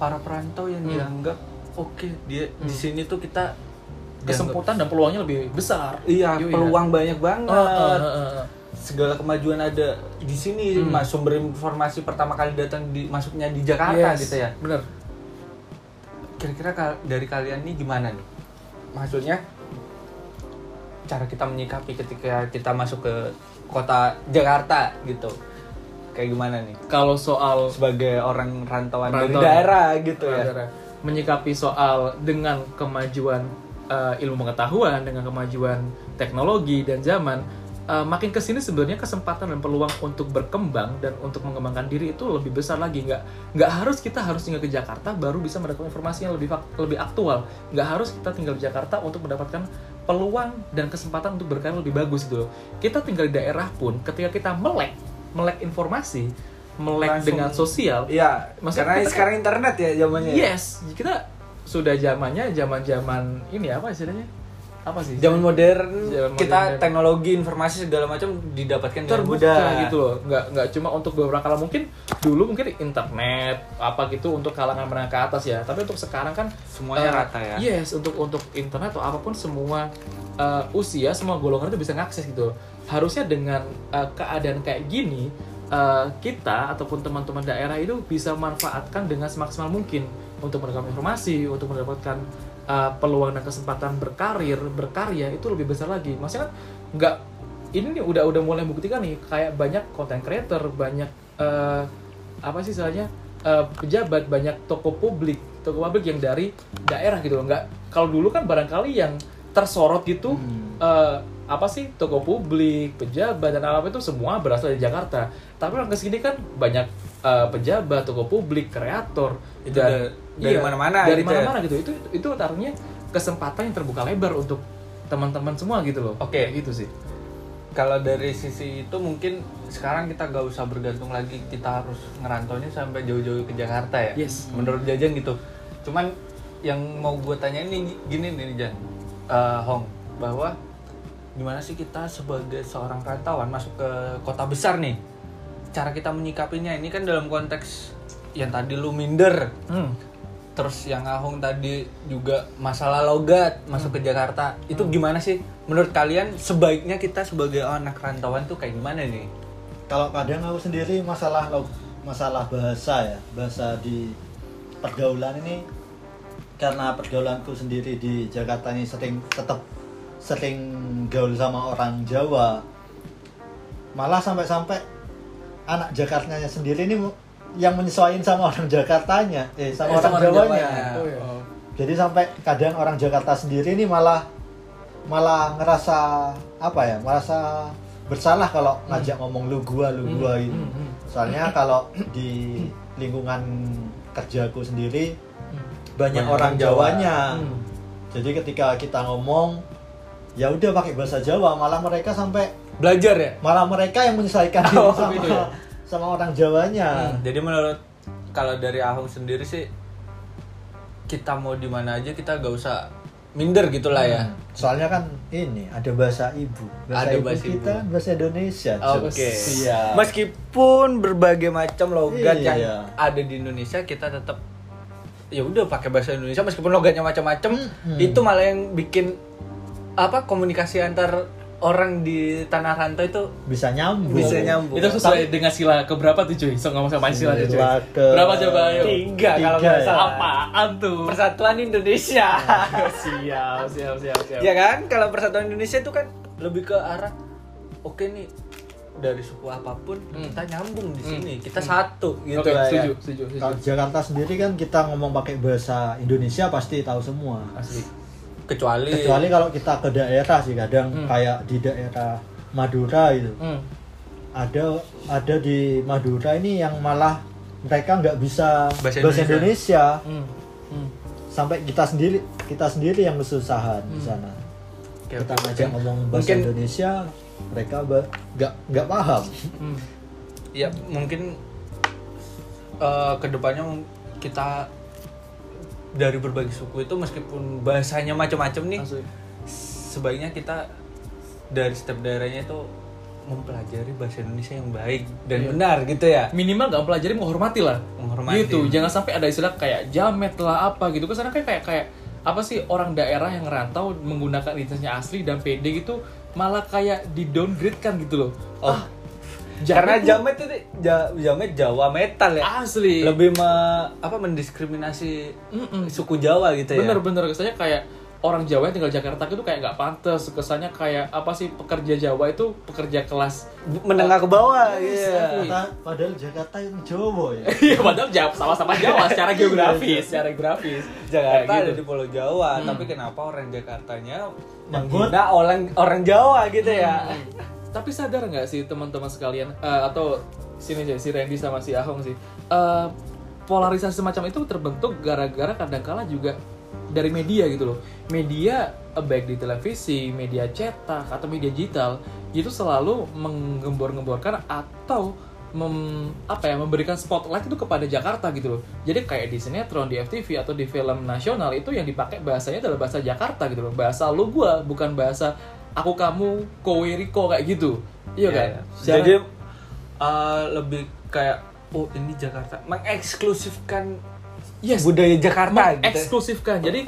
para perantau yang Hmm. dianggap oke dia di Hmm. sini tuh kita dianggap- kesempatan dan peluangnya lebih besar Iya, Yoi, peluang banyak banget. ya. Eh, eh, eh, eh. Segala kemajuan ada di sini, Hmm. Mas. Sumber informasi pertama kali datang di masuknya di Jakarta Yes, gitu ya. bener Kira-kira kal- dari kalian ini gimana nih? Maksudnya cara kita menyikapi ketika kita masuk ke kota Jakarta gitu. Kayak gimana nih? kalau soal Sebagai orang rantauan dari Rantau. daerah gitu ya. saudara menyikapi soal dengan kemajuan uh, ilmu pengetahuan dengan kemajuan teknologi dan zaman uh, makin kesini sebenarnya kesempatan dan peluang untuk berkembang dan untuk mengembangkan diri itu lebih besar lagi nggak nggak harus kita harus tinggal ke Jakarta baru bisa mendapatkan informasi yang lebih fak- lebih aktual nggak harus kita tinggal di Jakarta untuk mendapatkan peluang dan kesempatan untuk berkarya lebih bagus gitu loh. kita tinggal di daerah pun ketika kita melek melek informasi melek Langsung- dengan sosial Iya, Maksudnya karena kita- Iya. sekarang internet ya zamannya. ya? Yes, kita sudah zamannya zaman-zaman ini apa istilahnya? Apa sih? Zaman modern, Zaman kita modern. teknologi, informasi segala macam didapatkan dengan terbuka mudah gitu loh. Nggak nggak cuma untuk beberapa kala mungkin dulu mungkin internet apa gitu untuk kalangan menengah ke atas ya. Tapi untuk sekarang kan Semuanya eh, rata ya. Yes, untuk untuk internet atau apapun semua eh, usia, semua golongan itu bisa ngakses gitu. loh. Harusnya dengan eh, keadaan kayak gini eh, kita ataupun teman-teman daerah itu bisa manfaatkan dengan semaksimal mungkin untuk mendapatkan informasi, untuk mendapatkan eh, peluang dan kesempatan berkarir, berkarya itu lebih besar lagi. Maksudnya kan nggak ini nih udah udah mulai membuktikan nih kayak banyak content creator, banyak eh, apa sih istilahnya eh, pejabat, banyak toko publik, toko publik yang dari daerah gitu loh. Nggak kalau dulu kan barangkali yang tersorot gitu Hmm. eh, apa sih toko publik, pejabat dan apa itu semua berasal dari Jakarta. Tapi orang kesini kan banyak eh, pejabat, toko publik, kreator Itu da- dari iya, mana-mana dari gitu ya. mana-mana gitu. Itu itu artinya kesempatan yang terbuka lebar untuk teman-teman semua gitu loh. Oke. Kayak gitu sih. Kalau dari sisi itu mungkin sekarang kita gak usah bergantung lagi kita harus ngerantaunya sampai jauh-jauh ke Jakarta ya. Yes. Menurut Jajan gitu. Cuman yang mau gue tanya ini gini nih Jan, Eh, Hong, bahwa gimana sih kita sebagai seorang perantauan masuk ke kota besar nih? Cara kita menyikapinya ini kan dalam konteks yang tadi lu minder Hmm. terus yang Ahong tadi juga masalah logat masuk ke Jakarta itu gimana sih menurut kalian sebaiknya kita sebagai anak rantauan tuh kayak gimana nih kalau kadang aku sendiri masalah lo- masalah bahasa ya bahasa di pergaulan ini karena pergaulanku sendiri di Jakarta ini sering tetap sering gaul sama orang Jawa malah sampai-sampai anak Jakartanya sendiri ini mu- yang menyesuaikan sama orang Jakartanya eh sama orang, Jawanya Jawanya. Oh. jadi sampai kadang orang Jakarta sendiri ini malah malah ngerasa apa ya merasa bersalah kalau ngajak ngomong lu gua lu gua gitu hmm, hmm. soalnya kalau di lingkungan kerjaku sendiri Hmm. banyak, Banyak orang orang Jawa. Jawanya Ah. Hmm. jadi ketika kita ngomong ya udah pakai bahasa Jawa malah mereka sampai belajar ya malah mereka yang menyesuaikan diri Oh, sama, gitu ya. Hmm. sama orang Ah, Jawanya jadi menurut kalau dari Ahong sendiri sih kita mau di mana aja kita gak usah minder gitulah ya Soalnya kan ini ada bahasa ibu. Bahasa Ada ibu bahasa kita ibu. bahasa Indonesia. Oke. Jos. Iya. Meskipun berbagai macam logat Iya. yang ada di Indonesia, kita tetap ya udah pakai bahasa Indonesia meskipun logatnya macam-macam, Mm-mm. itu malah yang bikin apa komunikasi antar orang di tanah rantau itu bisa nyambung. Bisa nyambung. Iya, Iya. Itu sesuai dengan sila keberapa tuh cuy? So ngomong sama sila tuh cuy. Sila ke- Berapa coba ayo? tiga, Tiga kalau nggak ya. salah. Apaan tuh? Persatuan Indonesia. siap, siap, siap, siap. ya kan? Kalau Persatuan Indonesia itu kan lebih ke arah oke nih dari suku apapun Hmm. kita nyambung di Hmm. sini, kita Hmm. satu gitu. Oke, lah ya. setuju, setuju, setuju. Kalau di Jakarta sendiri kan kita ngomong pakai bahasa Indonesia pasti tahu semua. Asli. kecuali, kecuali kalau kita ke daerah sih kadang Hmm. kayak di daerah Madura itu Hmm. ada ada di Madura ini yang malah mereka nggak bisa Bahasa bahasa, Indonesia. Indonesia. Hmm. Hmm. sampai kita sendiri kita sendiri yang kesusahan di Hmm. sana Oke, kita oke, ngajak oke. ngomong bahasa Mungkin- Indonesia mereka ba- nggak nggak paham Hmm. ya mungkin eh, kedepannya mung- kita dari berbagai suku itu meskipun bahasanya macam-macam nih Asik. sebaiknya kita dari setiap daerahnya itu mempelajari bahasa Indonesia yang baik dan Iya. benar gitu ya minimal nggak mempelajari menghormati lah Menghormati. gitu jangan sampai ada istilah kayak jamet lah apa gitu kesana kayak kayak kayak apa sih orang daerah yang ngerantau menggunakan identitasnya asli dan pede gitu malah kayak di downgrade kan gitu loh oh karena jamet jamet itu ja- jamet Jawa metal tuh ya asli lebih me- apa mendiskriminasi Mm-mm. suku Jawa gitu ya bener-bener kesannya kayak orang Jawa yang tinggal di Jakarta itu kayak nggak pantas kesannya kayak apa sih pekerja Jawa itu pekerja kelas B- menengah ke bawah iya exactly. Kata- padahal Jakarta yang Jawa ya Iya, padahal Jawa sama-sama Jawa secara geografis, secara geografis. Iya, Jakarta Kayak ada di gitu. Pulau Jawa, Hmm. tapi kenapa orang Jakartanya Nyebut. menghina orang orang Jawa gitu ya? Hmm. Tapi sadar nggak sih teman-teman sekalian eh, atau sini aja si Randy sama si Ahong sih eh, polarisasi semacam itu terbentuk gara-gara kadangkala juga dari media gitu loh. Media eh, baik di televisi, media cetak atau media digital itu selalu menggembor-gemborkan atau mem- apa ya memberikan spotlight itu kepada Jakarta gitu loh. Jadi kayak di sinetron, di FTV atau di film nasional itu yang dipakai bahasanya adalah bahasa Jakarta gitu loh. Bahasa lu gua bukan bahasa aku kamu kowe Riko kayak gitu. Iya kan? Secara- Jadi eh, lebih kayak oh ini Jakarta mengeksklusifkan yes, budaya Jakarta gitu. eksklusifkan. Jadi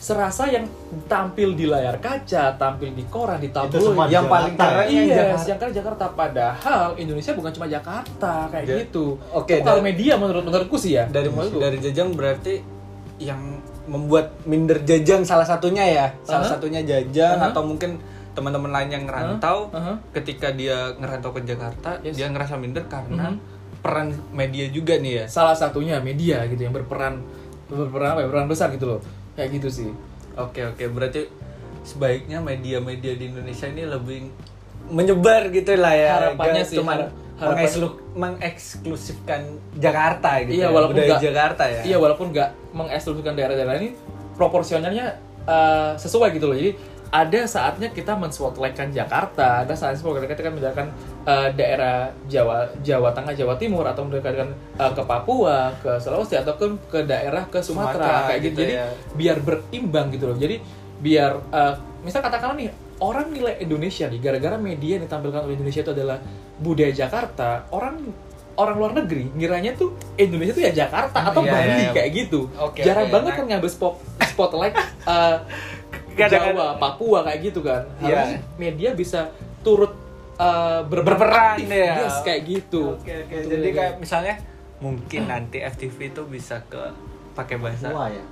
serasa yang tampil di layar kaca, tampil di koran, di Itu tabloid, semua di yang paling Jakarta keren ya? yang Iya, Jakarta. sedangkan Jakarta padahal Indonesia bukan cuma Jakarta kayak Ja- gitu. Iya. Oke, Kalau dari- media menurut menurutku sih ya. Dari menurutku. dari Jajang berarti yang membuat minder Jajang salah satunya ya, salah Aha. satunya Jajang Aha. atau mungkin teman-teman lain yang ngerantau Aha. ketika dia ngerantau ke Jakarta Yes. dia ngerasa minder karena Mhm. peran media juga nih ya salah satunya media gitu yang berperan berperan apa ya, berperan besar gitu loh. Kayak gitu sih. Oke oke berarti sebaiknya media-media di Indonesia ini lebih menyebar gitu lah ya. Harapannya Nggak sih, cuman har- harapan- mengekslu- mengeksklusifkan Jakarta gitu. Iya ya, walaupun budaya nggak Jakarta ya. Iya walaupun nggak mengeksklusifkan daerah-daerah ini proporsionalnya eh, sesuai gitu loh. Jadi ada saatnya kita menspotlightkan Jakarta, ada saatnya spotlight kita kan menjalankan eh, daerah Jawa, Jawa Tengah, Jawa Timur atau mendekatkan eh, ke Papua, ke Sulawesi atau ke ke daerah ke Sumatera, Sumatera, kayak gitu. gitu Jadi ya. biar berimbang gitu loh. Jadi biar eh, misal katakanlah nih orang nilai Indonesia nih gara-gara media yang ditampilkan oleh Indonesia itu adalah budaya Jakarta, orang orang luar negeri ngiranya tuh Indonesia tuh ya Jakarta atau Iya, Bali iya, iya. kayak gitu. Oke, Jarang oke, banget enak. kan ngambil spot spotlight eh, Kadang-kadang- Jawa, Papua kayak gitu kan. Iya. Harusnya media bisa turut eh, berperan Berperan, aktif. ya. Yes, kayak gitu. Oke oke. Gitu, Jadi gitu. kayak misalnya mungkin nanti FTV itu bisa ke pakai bahasa Papua ya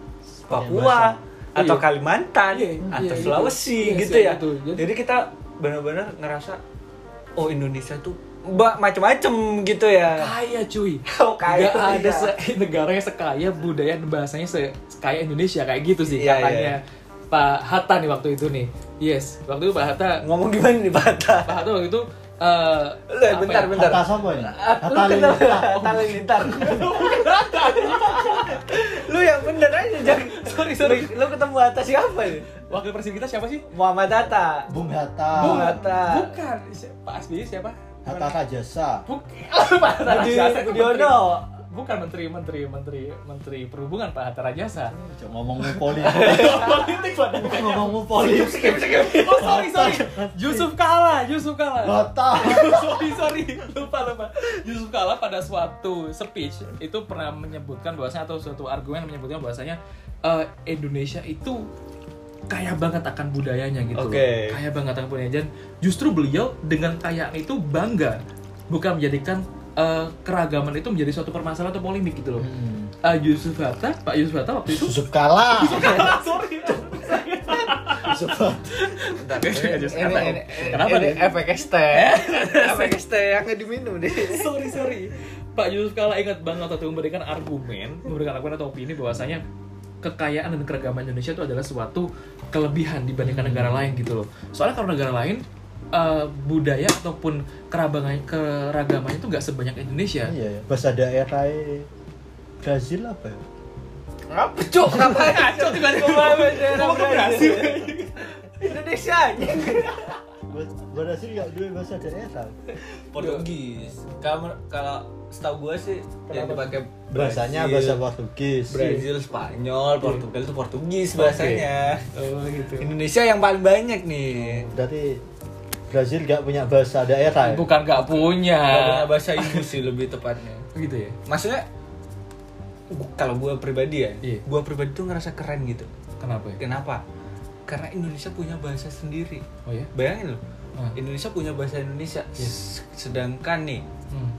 Papua atau Iya. Kalimantan Iya, atau iya, gitu. Sulawesi Iya, gitu iya, ya. gitu. Jadi- Jadi, kita benar-benar ngerasa oh Indonesia tuh ba- macam-macam gitu ya. Kaya cuy. Oh, kaya, Nggak ada iya. se- negara yang sekaya budaya dan bahasanya se- sekaya Indonesia kayak gitu sih Iya, katanya Pak Hatta nih waktu itu nih. Yes, waktu itu Pak Hatta Ngomong gimana nih Bata? Pak Hatta waktu itu eh, Lah, apa bentar, ya? bentar. Kata siapa ini? Lu Kata kenapa? Lilita. Tali lintar. Lu yang bener aja, Jack. Sorry, sorry. Lu ketemu atas siapa ini? Wakil presiden kita siapa sih? Muhammad Hatta. Bung Hatta Bung Hatta. Bukan. Si- Pak SBY siapa? Hatta Rajasa Bukan. Pak Hatta Budi- Rajasa itu Budiono. menteri. Bukan menteri, menteri, menteri, menteri perhubungan Pak Hatta Rajasa. Cok, ngomongin politik Politik padahal. ngomongin politik Oh sorry sorry, Yusuf Kala, Yusuf Kala. Hatta sorry sorry, lupa lupa. Yusuf Kala pada suatu speech itu pernah menyebutkan bahwasanya atau suatu argumen menyebutkan bahwasanya eh, Indonesia itu kaya banget akan budayanya gitu. Oke. Kaya banget akan budayanya. Dan justru beliau dengan kayaan itu bangga, bukan menjadikan eh, keragaman itu menjadi suatu permasalahan atau polemik gitu loh. Hmm. Eh, Yusuf Hatta, Pak Yusuf Hatta waktu itu Yusuf Kala sorry. Bentar. Ini- ini- ini- Kenapa ini nih? Efek teh. Efek teh yang diminum deh. sorry sorry Pak Yusuf Kala ingat banget waktu itu memberikan argumen memberikan argumen atau opini bahwasanya kekayaan dan keragaman Indonesia itu adalah suatu kelebihan dibandingkan negara lain gitu loh. Soalnya kalau negara lain eh, budaya ataupun kerabangan keragamannya itu nggak sebanyak Indonesia. Iya, ya. bahasa daerah Brazil apa ya? Apa cok? Ngapain cok? Tiba-tiba Ngomong ke Brazil. Indonesia Ba- Brazil nggak dua bahasa daerah. Portugis. Kamu kalau setahu gue sih yang Kenapa? dipakai Bahasanya bahasa Iya. Brazil. Portugis. Brazil, Spanyol, Portugal itu Portugis bahasanya. Oh gitu. Indonesia yang paling banyak nih. Berarti Brazil nggak punya bahasa daerah. Ya? Bukan nggak punya. Nggak punya Nah, bahasa ibu sih lebih tepatnya. Gitu ya. Maksudnya gu- kalau gue pribadi ya, Iya. gue pribadi tuh ngerasa keren gitu. Kenapa ya? Kenapa? Karena Indonesia punya bahasa sendiri. Oh ya. Bayangin loh, Ah. Indonesia punya bahasa Indonesia. Iya. Yes. S- Sedangkan nih Hmm.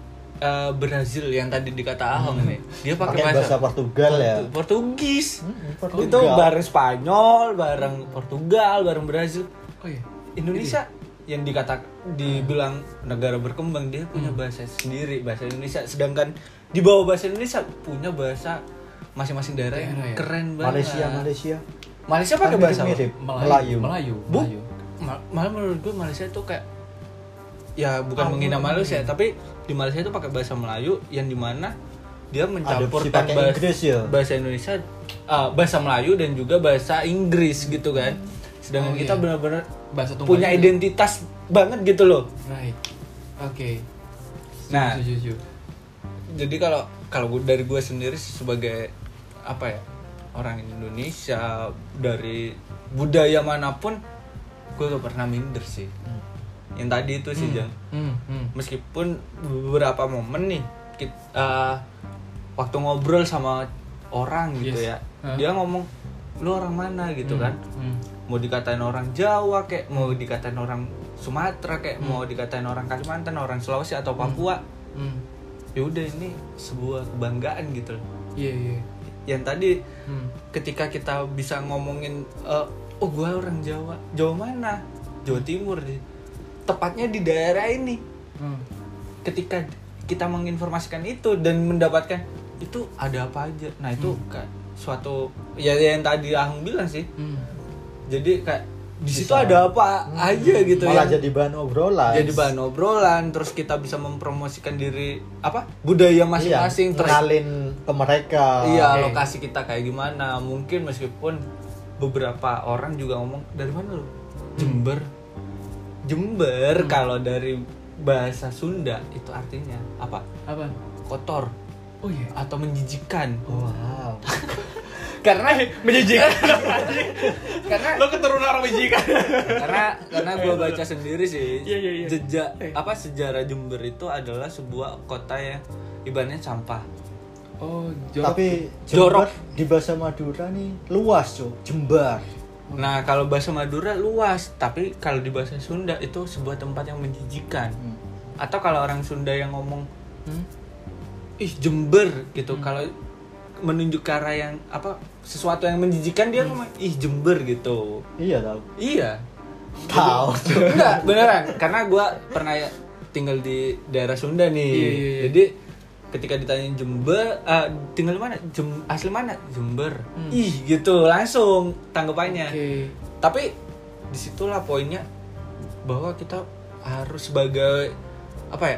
eh, Brazil yang tadi dikata Hmm. Ahong nih, dia pakai Pakai bahasa Portugal ya. Portu- Portugis. Hmm, Itu Portugal. Hmm. bareng Spanyol, bareng Portugal, bareng Brazil. Oh ya. Indonesia Iya. yang dikata dibilang negara berkembang dia punya Hmm. bahasa sendiri bahasa Indonesia sedangkan di bawah bahasa Indonesia punya bahasa masing-masing daerah yang Daerah ya. keren banget Malaysia, Malaysia. Malaysia pakai bahasa apa? Mirip-mirip. Melayu. Melayu. Melayu. Bu, Melayu. ma- malah menurut gue Malaysia itu kayak ya bukan Ah, menghina iya. Malaysia tapi di Malaysia itu pakai bahasa Melayu yang dimana dia mencampurkan pakai bahasa, Inggris ya. bahasa Indonesia eh, bahasa Melayu dan juga bahasa Inggris gitu kan sedangkan Oh, kita iya. benar-benar Bahasa tunggal. punya identitas banget gitu loh Right. Oke. Nah. Setuju, setuju. jadi kalau kalau gua- dari gue sendiri sih sebagai apa ya orang Indonesia dari budaya manapun gue gak pernah minder sih yang tadi itu sih Jang Hmm, hmm. meskipun beberapa momen nih kita waktu ngobrol sama orang gitu Yes. ya Hah? dia ngomong lu orang mana gitu kan Hmm. mau dikatain orang Jawa kayak mau dikatain orang Sumatera kayak mau dikatain orang Kalimantan orang Sulawesi atau Papua Hmm. ya udah ini sebuah kebanggaan gitu loh Iya, iya. yang tadi Hmm. ketika kita bisa ngomongin eh, oh gue orang Jawa Jawa mana Jawa Timur deh tepatnya di daerah ini Hmm. ketika kita menginformasikan itu dan mendapatkan itu ada apa aja nah itu Hmm. kayak suatu ya yang tadi Ahung bilang sih Hmm. jadi kayak di situ Bisa. Hmm. ada apa aja gitu Malah yang- jadi bahan obrolan. jadi bahan obrolan terus kita bisa mempromosikan diri apa budaya masing-masing Iya, terus kenalin ke mereka. iya oke. lokasi kita kayak gimana mungkin meskipun beberapa orang juga ngomong dari mana lu Jember Jember Hmm. kalau dari bahasa Sunda itu artinya apa Apa? kotor Oh iya. atau menjijikan Wow. karena Menjijikan. karena Lo keturunan orang menjijikan. karena karena gue baca sendiri sih Iya, iya, iya. jejak apa sejarah Jember itu adalah sebuah kota yang ibaratnya sampah Oh, jorok. Tapi Jorok. Jember di bahasa Madura nih luas, Cuk. Jembar. nah kalau bahasa Madura luas tapi kalau di bahasa Sunda itu sebuah tempat yang menjijikan Hmm. atau kalau orang Sunda yang ngomong Hmm. ih Jember gitu kalau menunjuk ke arah yang apa sesuatu yang menjijikan dia Hmm. ngomong ih Jember gitu Iya tahu. iya Tahu. Cuk. enggak beneran karena gue pernah ya- tinggal di daerah Sunda nih Iya, iya, iya. jadi ketika ditanya Jember eh, tinggal di mana Jem- asli mana Jember ih gitu langsung tanggapannya Hmm. Oke. tapi disitulah poinnya bahwa kita harus sebagai apa ya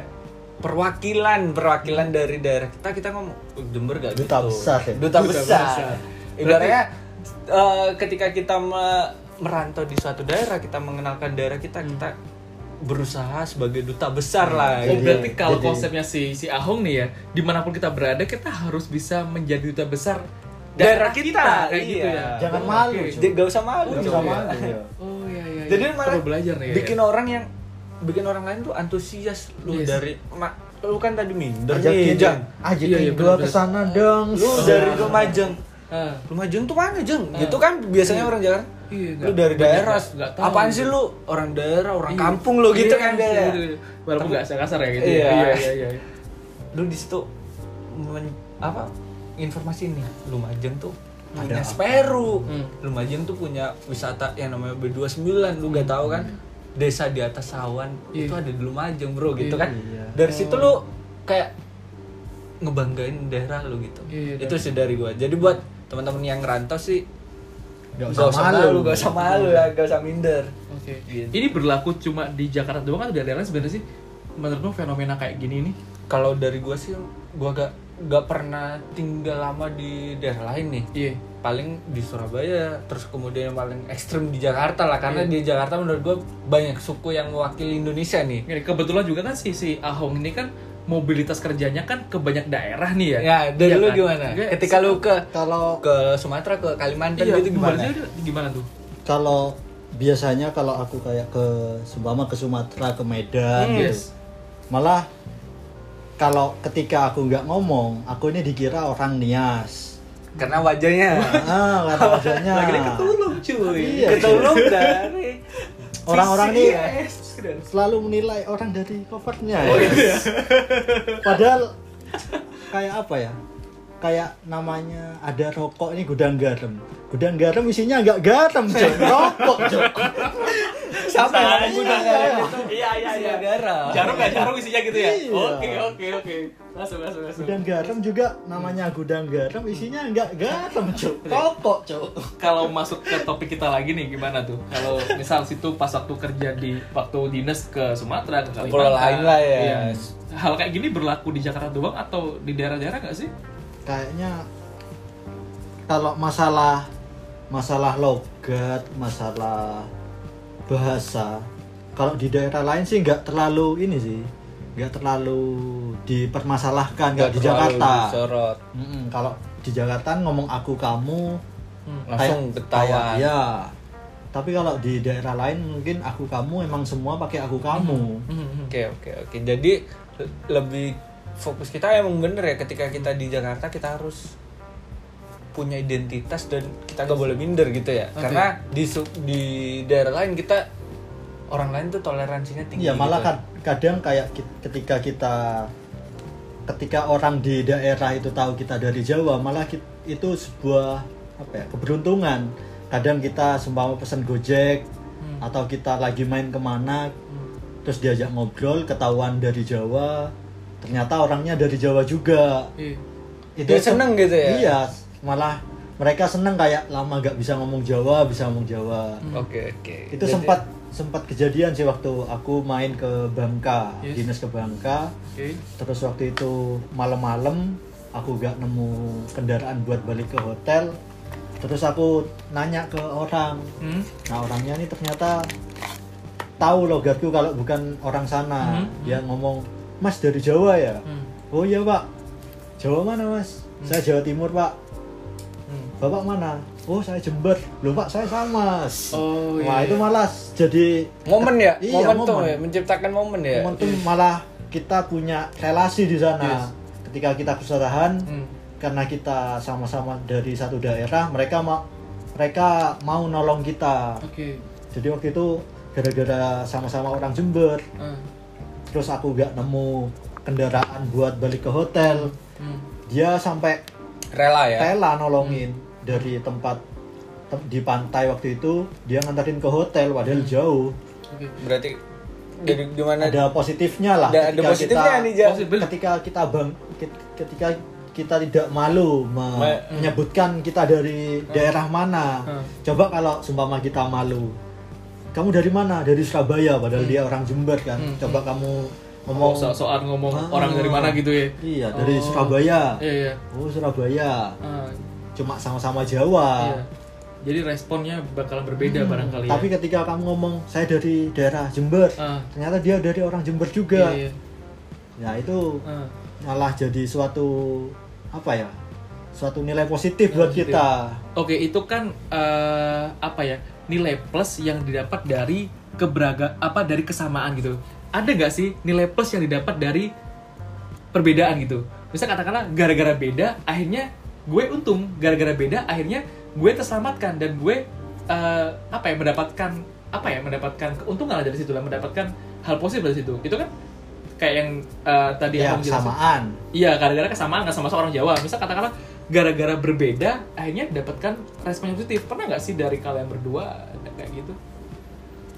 perwakilan perwakilan dari daerah kita kita ngomong "Oh, Jember gak Duta gitu." besar ya? duta, Duta besar, besar. ibaratnya eh, ketika kita me- merantau di suatu daerah kita mengenalkan daerah kita kita berusaha sebagai duta besar lah Oh, gitu. Jadi- berarti kalau jadi- konsepnya si si Ahong nih ya, dimanapun kita berada kita harus bisa menjadi duta besar Daerah kita, kayak gitu iya. ya. Jangan Oh, malu, oke. Cuk. jadi gak usah malu Lu Jom, bisa ya. malu, ya. iya. Oh iya iya. iya. jadi malah Perlu belajar nih. bikin ya. orang yang bikin orang lain tuh antusias lu Yes. dari "Ma, lu kan tadi minder nih Ajakin ya. Jang." ajakin Iya, iya, gua bener-bener. ke sana dong. lu Iya. dari Lumajang Ah, Lumajang tuh mana jeng gitu kan biasanya orang Jakarta Iya, lu nggak- dari banyak daerah nggak- nggak tahu. apaan sih lu orang daerah orang iya. kampung lu gitu Iya, kan iya, dia gitu, gitu. Walaupun nggak asal kasar ya gitu. Iya. iya iya. iya. lu di situ men- apa informasi ini Lumajang tuh Ada punya apa? Semeru Hmm. Lumajang tuh punya wisata yang namanya B29 lu gak tahu kan desa di atas awan Iya. itu ada di Lumajang bro gitu Iya. kan Iya. dari situ lu kayak ngebanggain daerah lu gitu Iya, iya, itu sih dari gua jadi buat teman-teman yang ngerantau sih Nggak gak usah usah, malu. malu, gak usah malu lah, gak usah minder. Oke. Gitu. Ini berlaku cuma di Jakarta doang kan? atau di daerah lain sebenarnya sih? Menurutmu fenomena kayak gini nih? Kalau dari gua sih, gua gak gak pernah tinggal lama di daerah lain nih. Iya. Paling di Surabaya, terus kemudian yang paling ekstrim di Jakarta lah, karena di Jakarta menurut gua banyak suku yang mewakili Indonesia nih. Gini, kebetulan juga kan si si Ahong ini kan mobilitas kerjanya kan ke banyak daerah nih ya. Ya, dari Iya lu kan? gimana? Oke, Ketika lu ke Kalau ke Sumatera, ke Kalimantan Iya, gitu gimana? mobilitasnya dia Gimana tuh? kalau biasanya kalau aku kayak ke Sumbama ke Sumatera ke Medan gitu. Hmm, yes. Malah kalau ketika aku nggak ngomong, aku ini dikira orang nias. Karena wajahnya Ah, kata wajahnya. Lagi ketulung cuy. Iya. ketulung dari Orang-orang sisi nih ya, es dan- selalu menilai orang dari covernya Oh, ya. iya. Padahal kayak apa ya? Kayak namanya ada rokok ini gudang garam. Gudang garam isinya nggak garam, Cok. Rokok, Cok. Siapa yang Iya. menggunakan garam itu? Iya iya iya. garam. Jarum nggak jarum isinya gitu ya? Iya. Oke oke oke. Masuk masuk masuk. Gudang garam juga namanya gudang garam isinya nggak garam, Cok. Rokok, Cok. kalau masuk ke topik kita lagi nih gimana tuh? Kalau misal situ pas waktu kerja di waktu dinas ke Sumatera ke Kalimantan. pulau lain lah ya. Iya. Hal kayak gini berlaku di Jakarta doang atau di daerah-daerah nggak sih? Kayaknya kalau masalah masalah logat, masalah bahasa, kalau di daerah lain sih nggak terlalu ini sih, nggak terlalu dipermasalahkan Nggak kalau di terlalu Jakarta. disorot. Mm-mm, kalau di Jakarta ngomong aku kamu Langsung kayak- ketawa. kayak- Iya. Tapi kalau di daerah lain mungkin aku kamu emang semua pakai aku kamu. Oke oke oke. Jadi le- lebih fokus kita emang bener ya ketika kita di Jakarta kita harus punya identitas dan kita gak boleh minder gitu ya. Oke. Karena di su- di daerah lain kita orang lain tuh toleransinya tinggi. Iya malah gitu. kad- kadang kayak ki- ketika kita ketika orang di daerah itu tahu kita dari Jawa malah ki- itu sebuah apa ya keberuntungan. Kadang kita sembako pesan Gojek atau kita lagi main kemana terus diajak ngobrol ketahuan dari Jawa ternyata orangnya dari Jawa juga Iya. Dia seneng gitu ya? iya malah mereka seneng kayak lama gak bisa ngomong Jawa bisa ngomong Jawa Hmm. Oke oke. itu Jadi- sempat sempat kejadian sih waktu aku main ke Bangka Yes. dinas ke Bangka Oke. terus waktu itu malam-malam aku gak nemu kendaraan buat balik ke hotel terus aku nanya ke orang Hmm. nah orangnya ini ternyata tahu logatku kalau bukan orang sana Mhm, dia ngomong Mas dari Jawa ya Hmm. Oh iya pak, Jawa mana mas? Saya Jawa Timur pak. Hmm. Bapak mana? Oh saya Jember. Loh pak saya sama. Mas." Oh Wah iya. itu malas. Jadi momen ya, Iya, momen, tuh momen. ya, menciptakan momen Iya, ya. momentum malah kita punya relasi di sana. Ketika kita kesusahan, Hmm. karena kita sama-sama dari satu daerah, mereka mau mereka mau nolong kita. Oke. Jadi waktu itu gara-gara sama-sama orang Jember, Ah. terus aku gak nemu kendaraan buat balik ke hotel. Hmm. Dia sampai Rela ya. rela nolongin Hmm. dari tempat tem- di pantai waktu itu dia nganterin ke hotel padahal Hmm. jauh Oke. Berarti jadi gimana? ada positifnya lah ada, ada ketika positifnya kita nih Jal. Positif. ketika kita bang ket- ketika kita tidak malu me- Me- menyebutkan kita dari daerah mana Hmm. coba kalau sumpama kita malu kamu dari mana dari Surabaya padahal dia orang Jember kan Hmm. coba kamu ngomong Ngomong soal ngomong Ah. orang dari mana gitu ya? iya dari Oh. Surabaya Iya iya. oh Surabaya Ah, cuma sama-sama Jawa iya. Jadi responnya bakal berbeda barangkali. Ah. Hmm, ya. Tapi ketika kamu ngomong saya dari daerah Jember, Ah. ternyata dia dari orang Jember juga. Iya, iya. Nah itu Ah. malah jadi suatu apa ya? Suatu nilai positif buat Positif. kita. Oke, itu kan eh, apa ya nilai plus yang didapat dari keberaga apa dari kesamaan gitu. Ada nggak sih nilai plus yang didapat dari perbedaan gitu? Misal katakanlah gara-gara beda, akhirnya gue untung. Gara-gara beda, akhirnya gue terselamatkan dan gue eh, apa ya mendapatkan apa ya mendapatkan keuntungan lah dari situ lah mendapatkan hal positif dari situ. Itu kan kayak yang eh, tadi Ya, Abang jelasin. kesamaan. Iya, gara-gara kesamaan nggak sama orang Jawa. Misal katakanlah gara-gara berbeda, akhirnya dapatkan respon yang positif. Pernah nggak sih dari kalian berdua ada kayak gitu?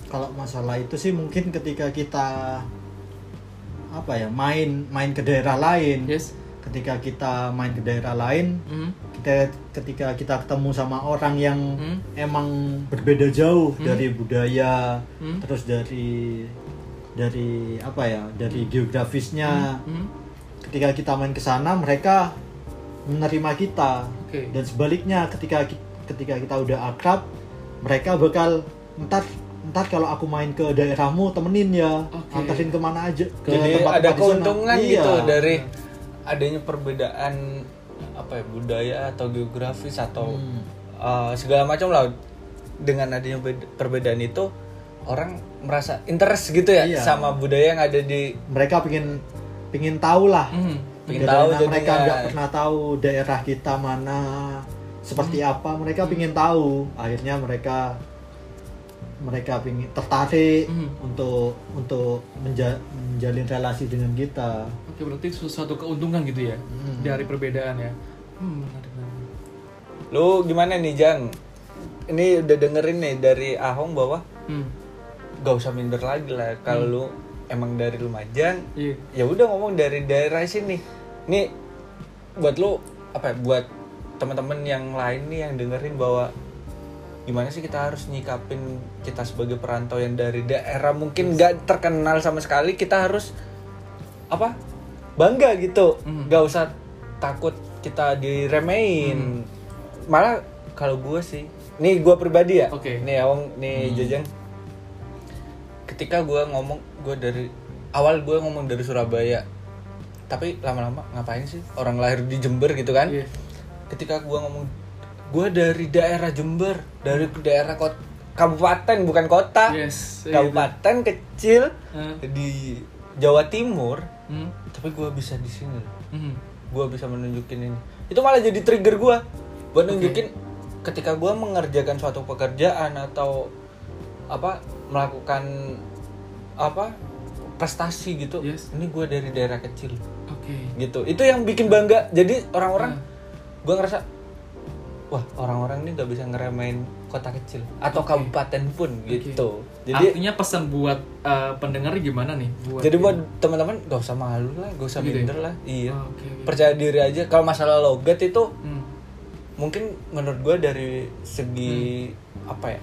Kalau masalah itu sih mungkin ketika kita apa ya main main ke daerah lain, Yes. ketika kita main ke daerah lain, Mhm. kita kayak ketika kita ketemu sama orang yang Hmm. emang berbeda jauh Hmm. dari budaya Hmm. terus dari dari apa ya dari geografisnya Hmm? ketika kita main ke sana mereka menerima kita Oke. dan sebaliknya ketika ki- ketika kita udah akrab mereka bakal ntar ntar kalau aku main ke daerahmu temenin ya Oke. anterin kemana aja ke Jadi tempat-tempat ada di sana. keuntungan Iya. gitu dari adanya perbedaan apa ya budaya atau geografis atau Hmm. uh, segala macam lah dengan adanya bed- perbedaan itu orang merasa interest gitu ya Iya. sama budaya yang ada di mereka pingin pingin tahu lah Hmm. Pengen Daerah tahu jadinya. mereka nggak pernah tahu daerah kita mana seperti Hmm. apa mereka pingin tahu akhirnya mereka mereka pingin tertarik Hmm. untuk untuk menja- menjalin relasi dengan kita Oke, berarti su- suatu keuntungan gitu ya Hmm. dari perbedaan ya. Hmm, menarik, menarik. lu gimana nih Jang ini udah dengerin nih dari Ahong bahwa Hmm. gak usah minder lagi lah kalau Hmm. lu emang dari Lumajang Iya. ya udah ngomong dari daerah sini nih buat lu apa ya buat teman-teman yang lain nih yang dengerin bahwa gimana sih kita harus nyikapin kita sebagai perantau yang dari daerah mungkin nggak terkenal sama sekali kita harus apa bangga gitu Mhm. nggak usah takut kita diremein malah kalau gue sih nih gue pribadi ya Oke. nih Awang nih Jajang ketika gue ngomong gue dari awal gue ngomong dari Surabaya tapi lama-lama ngapain sih orang lahir di Jember gitu kan Iya. ketika gue ngomong gue dari daerah Jember dari daerah kot- kabupaten bukan kota Yes. iya, kabupaten kecil itu. Eh, di Jawa Timur Hmm. tapi gue bisa di sini loh. Hmm. gue bisa menunjukin ini itu malah jadi trigger gue buat nunjukin ketika gue mengerjakan suatu pekerjaan atau apa melakukan apa prestasi gitu Yes. ini gue dari daerah kecil Oke. gitu itu yang bikin bangga jadi Hmm. orang-orang gue ngerasa wah orang-orang ini nggak bisa ngeremain kota kecil atau kabupaten pun gitu jadi Artinya pesan buat eh, pendengar gimana nih? Buat ya? jadi buat teman-teman gak usah malu lah gak usah Gitu ya? minder lah iya Oh, oke, oke. percaya diri aja kalau masalah logat itu Hmm. mungkin menurut gue dari segi Hmm. apa ya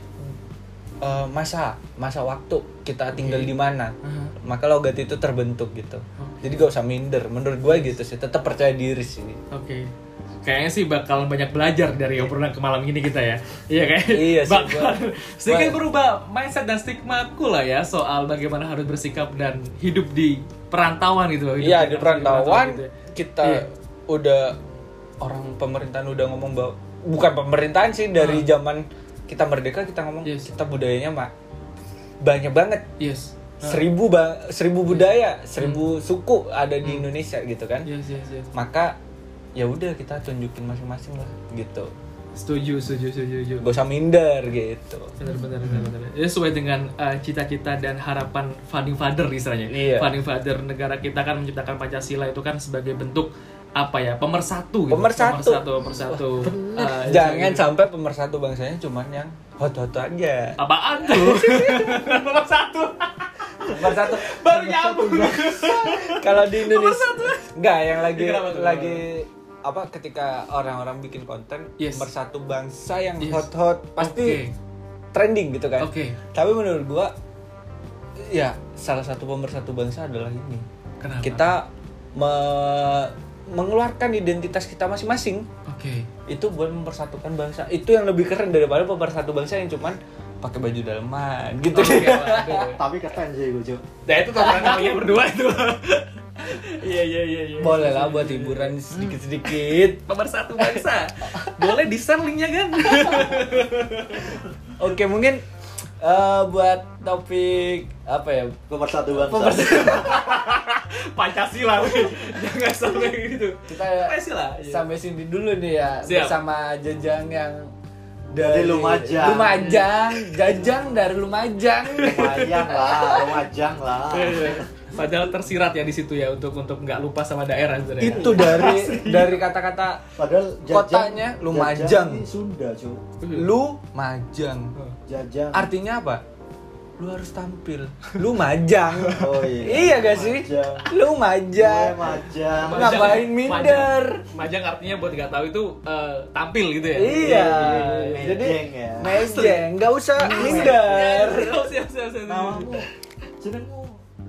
eh, masa masa waktu kita tinggal di mana Aha. maka logat itu terbentuk gitu jadi gak usah minder menurut gue gitu sih tetap percaya diri sih Oke. Kayaknya sih bakal banyak belajar dari obrolan ke malam ini kita ya. Iya kayak Iya sih, bakal gua- sedikit gua- berubah mindset dan stigma aku lah ya soal bagaimana harus bersikap dan hidup di perantauan gitu loh. hidup Iya di daerah perantauan gitu ya. kita Iya. udah orang pemerintahan udah ngomong bahwa bukan pemerintahan sih dari zaman kita merdeka kita ngomong Yes. kita budayanya mak banyak banget Yes. seribu ba- seribu Hmm. budaya seribu suku ada di Indonesia gitu kan Yes, yes, yes. maka ya udah kita tunjukin masing-masing lah gitu Setuju, setuju, setuju, setuju. gak usah minder gitu Benar, benar, benar, benar. Hmm. Ya, sesuai dengan uh, cita-cita dan harapan founding father istilahnya. Iya. Founding father negara kita kan menciptakan Pancasila itu kan sebagai bentuk apa ya pemersatu gitu. Pemersatu. pemersatu pemersatu Uh, itu- Ah, jangan sampai pemersatu bangsanya cuman yang hot-hot aja apaan tuh nomor satu pemersatu baru nyambung kalau di Indonesia nggak yang lagi Ya, kenapa tuh? lagi apa ketika orang-orang bikin konten Yes. bersatu bangsa yang Yes. hot-hot pasti trending gitu kan Oke. tapi menurut gua ya salah satu pemersatu bangsa adalah ini Kenapa? kita me- mengeluarkan identitas kita masing-masing oke itu buat mempersatukan bangsa itu yang lebih keren daripada pemersatu bangsa yang cuman pakai baju daleman gitu Oke, waduh. tapi keren sih gue Cuk. nah itu tabrakan kalian berdua itu iya iya iya iya. boleh lah buat hiburan sedikit-sedikit nomor satu bangsa boleh di share linknya kan Oke mungkin eh, buat topik apa ya? pemersatu bangsa pancasila weh. jangan sampai gitu Kita Pancasila, iya. sampai sini dulu nih ya Siap. bersama Jajang yang Dari Lumajang. Lumajang, Jajang dari Lumajang. lumayan lah lumajang lah Iya, iya. padahal tersirat ya di situ ya untuk untuk nggak lupa sama daerah sebenarnya. Itu dari dari kata-kata padahal jajang, Kotanya Lumajang. Iya. jajang ini Sunda cuy Lumajang. jajang Artinya apa? lu harus tampil lu majang Oh iya. iya gak sih Majang. lu majang Gue majang. Majang. Ngapain minder? Majang, Majang artinya buat nggak tahu itu eh, tampil gitu ya. iya iya. jadi Mejeng ya. mejeng nggak usah minder Oh, siap, siap, siap, siap. Namamu jenengmu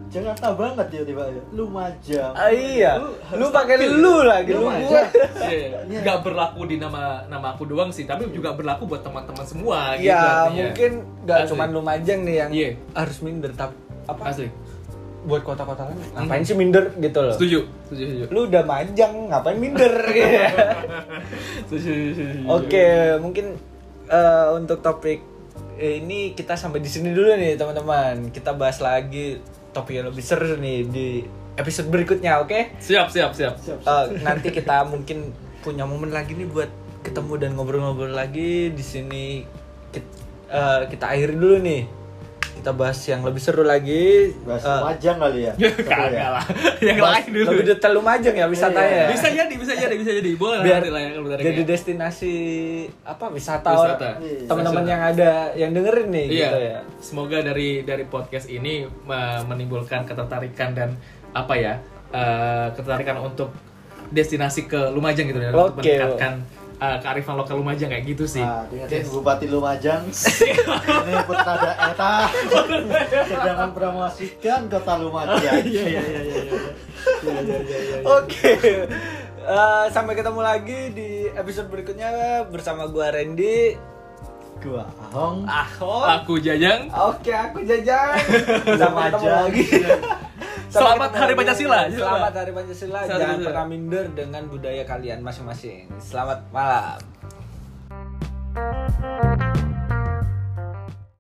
Jakarta banget ya tiba Lu majang. Ah, iya lu harus pakai tampil. lu lagi Lu lu majang. gue Iya, iya. nggak berlaku di nama nama aku doang sih, tapi juga berlaku buat teman-teman semua gitu ya artinya. mungkin nggak Asli. cuman lu majang nih yang Iya. harus minder tapi apa Asli. buat kota-kota lain ngapain sih minder gitu loh Setuju. Setuju, setuju. lu udah majang ngapain minder Iya. Setuju, setuju, setuju. oke mungkin eh, untuk topik eh, ini kita sampai di sini dulu nih teman-teman kita bahas lagi topik yang lebih seru nih di episode berikutnya oke Siap, siap, siap. Siap, siap. Eh, nanti kita mungkin punya momen lagi nih buat ketemu dan ngobrol-ngobrol lagi di sini kita, kita akhiri dulu nih kita bahas yang lebih seru lagi Bahas Eh, majang kali ya. Ya, Seru Ah. Kagak lah. Yang bahas lain dulu. lebih detail lumajang ya Iya, wisatanya ya. Bisa jadi, bisa jadi, bisa jadi. Boleh biar nanti lah yang menarik jadi gitu ya. destinasi apa wisata, Wisata. Iya, orang- teman-teman yang ada yang dengerin nih Iya. gitu ya Semoga dari dari podcast ini eh, menimbulkan ketertarikan dan apa ya? eh, ketertarikan untuk destinasi ke Lumajang gitu ya, untuk Oke. meningkatkan eh, kearifan lokal Lumajang kayak gitu sih. Ah, Nah, dengerin ya. Yes. Bupati Lumajang. ini eh, Putrada Eta sedang mempromosikan kota Lumajang. Iya, iya, iya, iya, iya. Iya, iya, iya, iya. oke Eh, sampai ketemu lagi di episode berikutnya bersama gua Randy Gua Ahong. Ah, Ahon Aku Jajang. oke aku Jajang sampai ketemu Lumajang. lagi Iya. Sampai Selamat ketemu Hari lagi. Pancasila. Selamat Hari Pancasila. Selamat Jangan Pancasila. pernah minder dengan budaya kalian masing-masing. Selamat malam.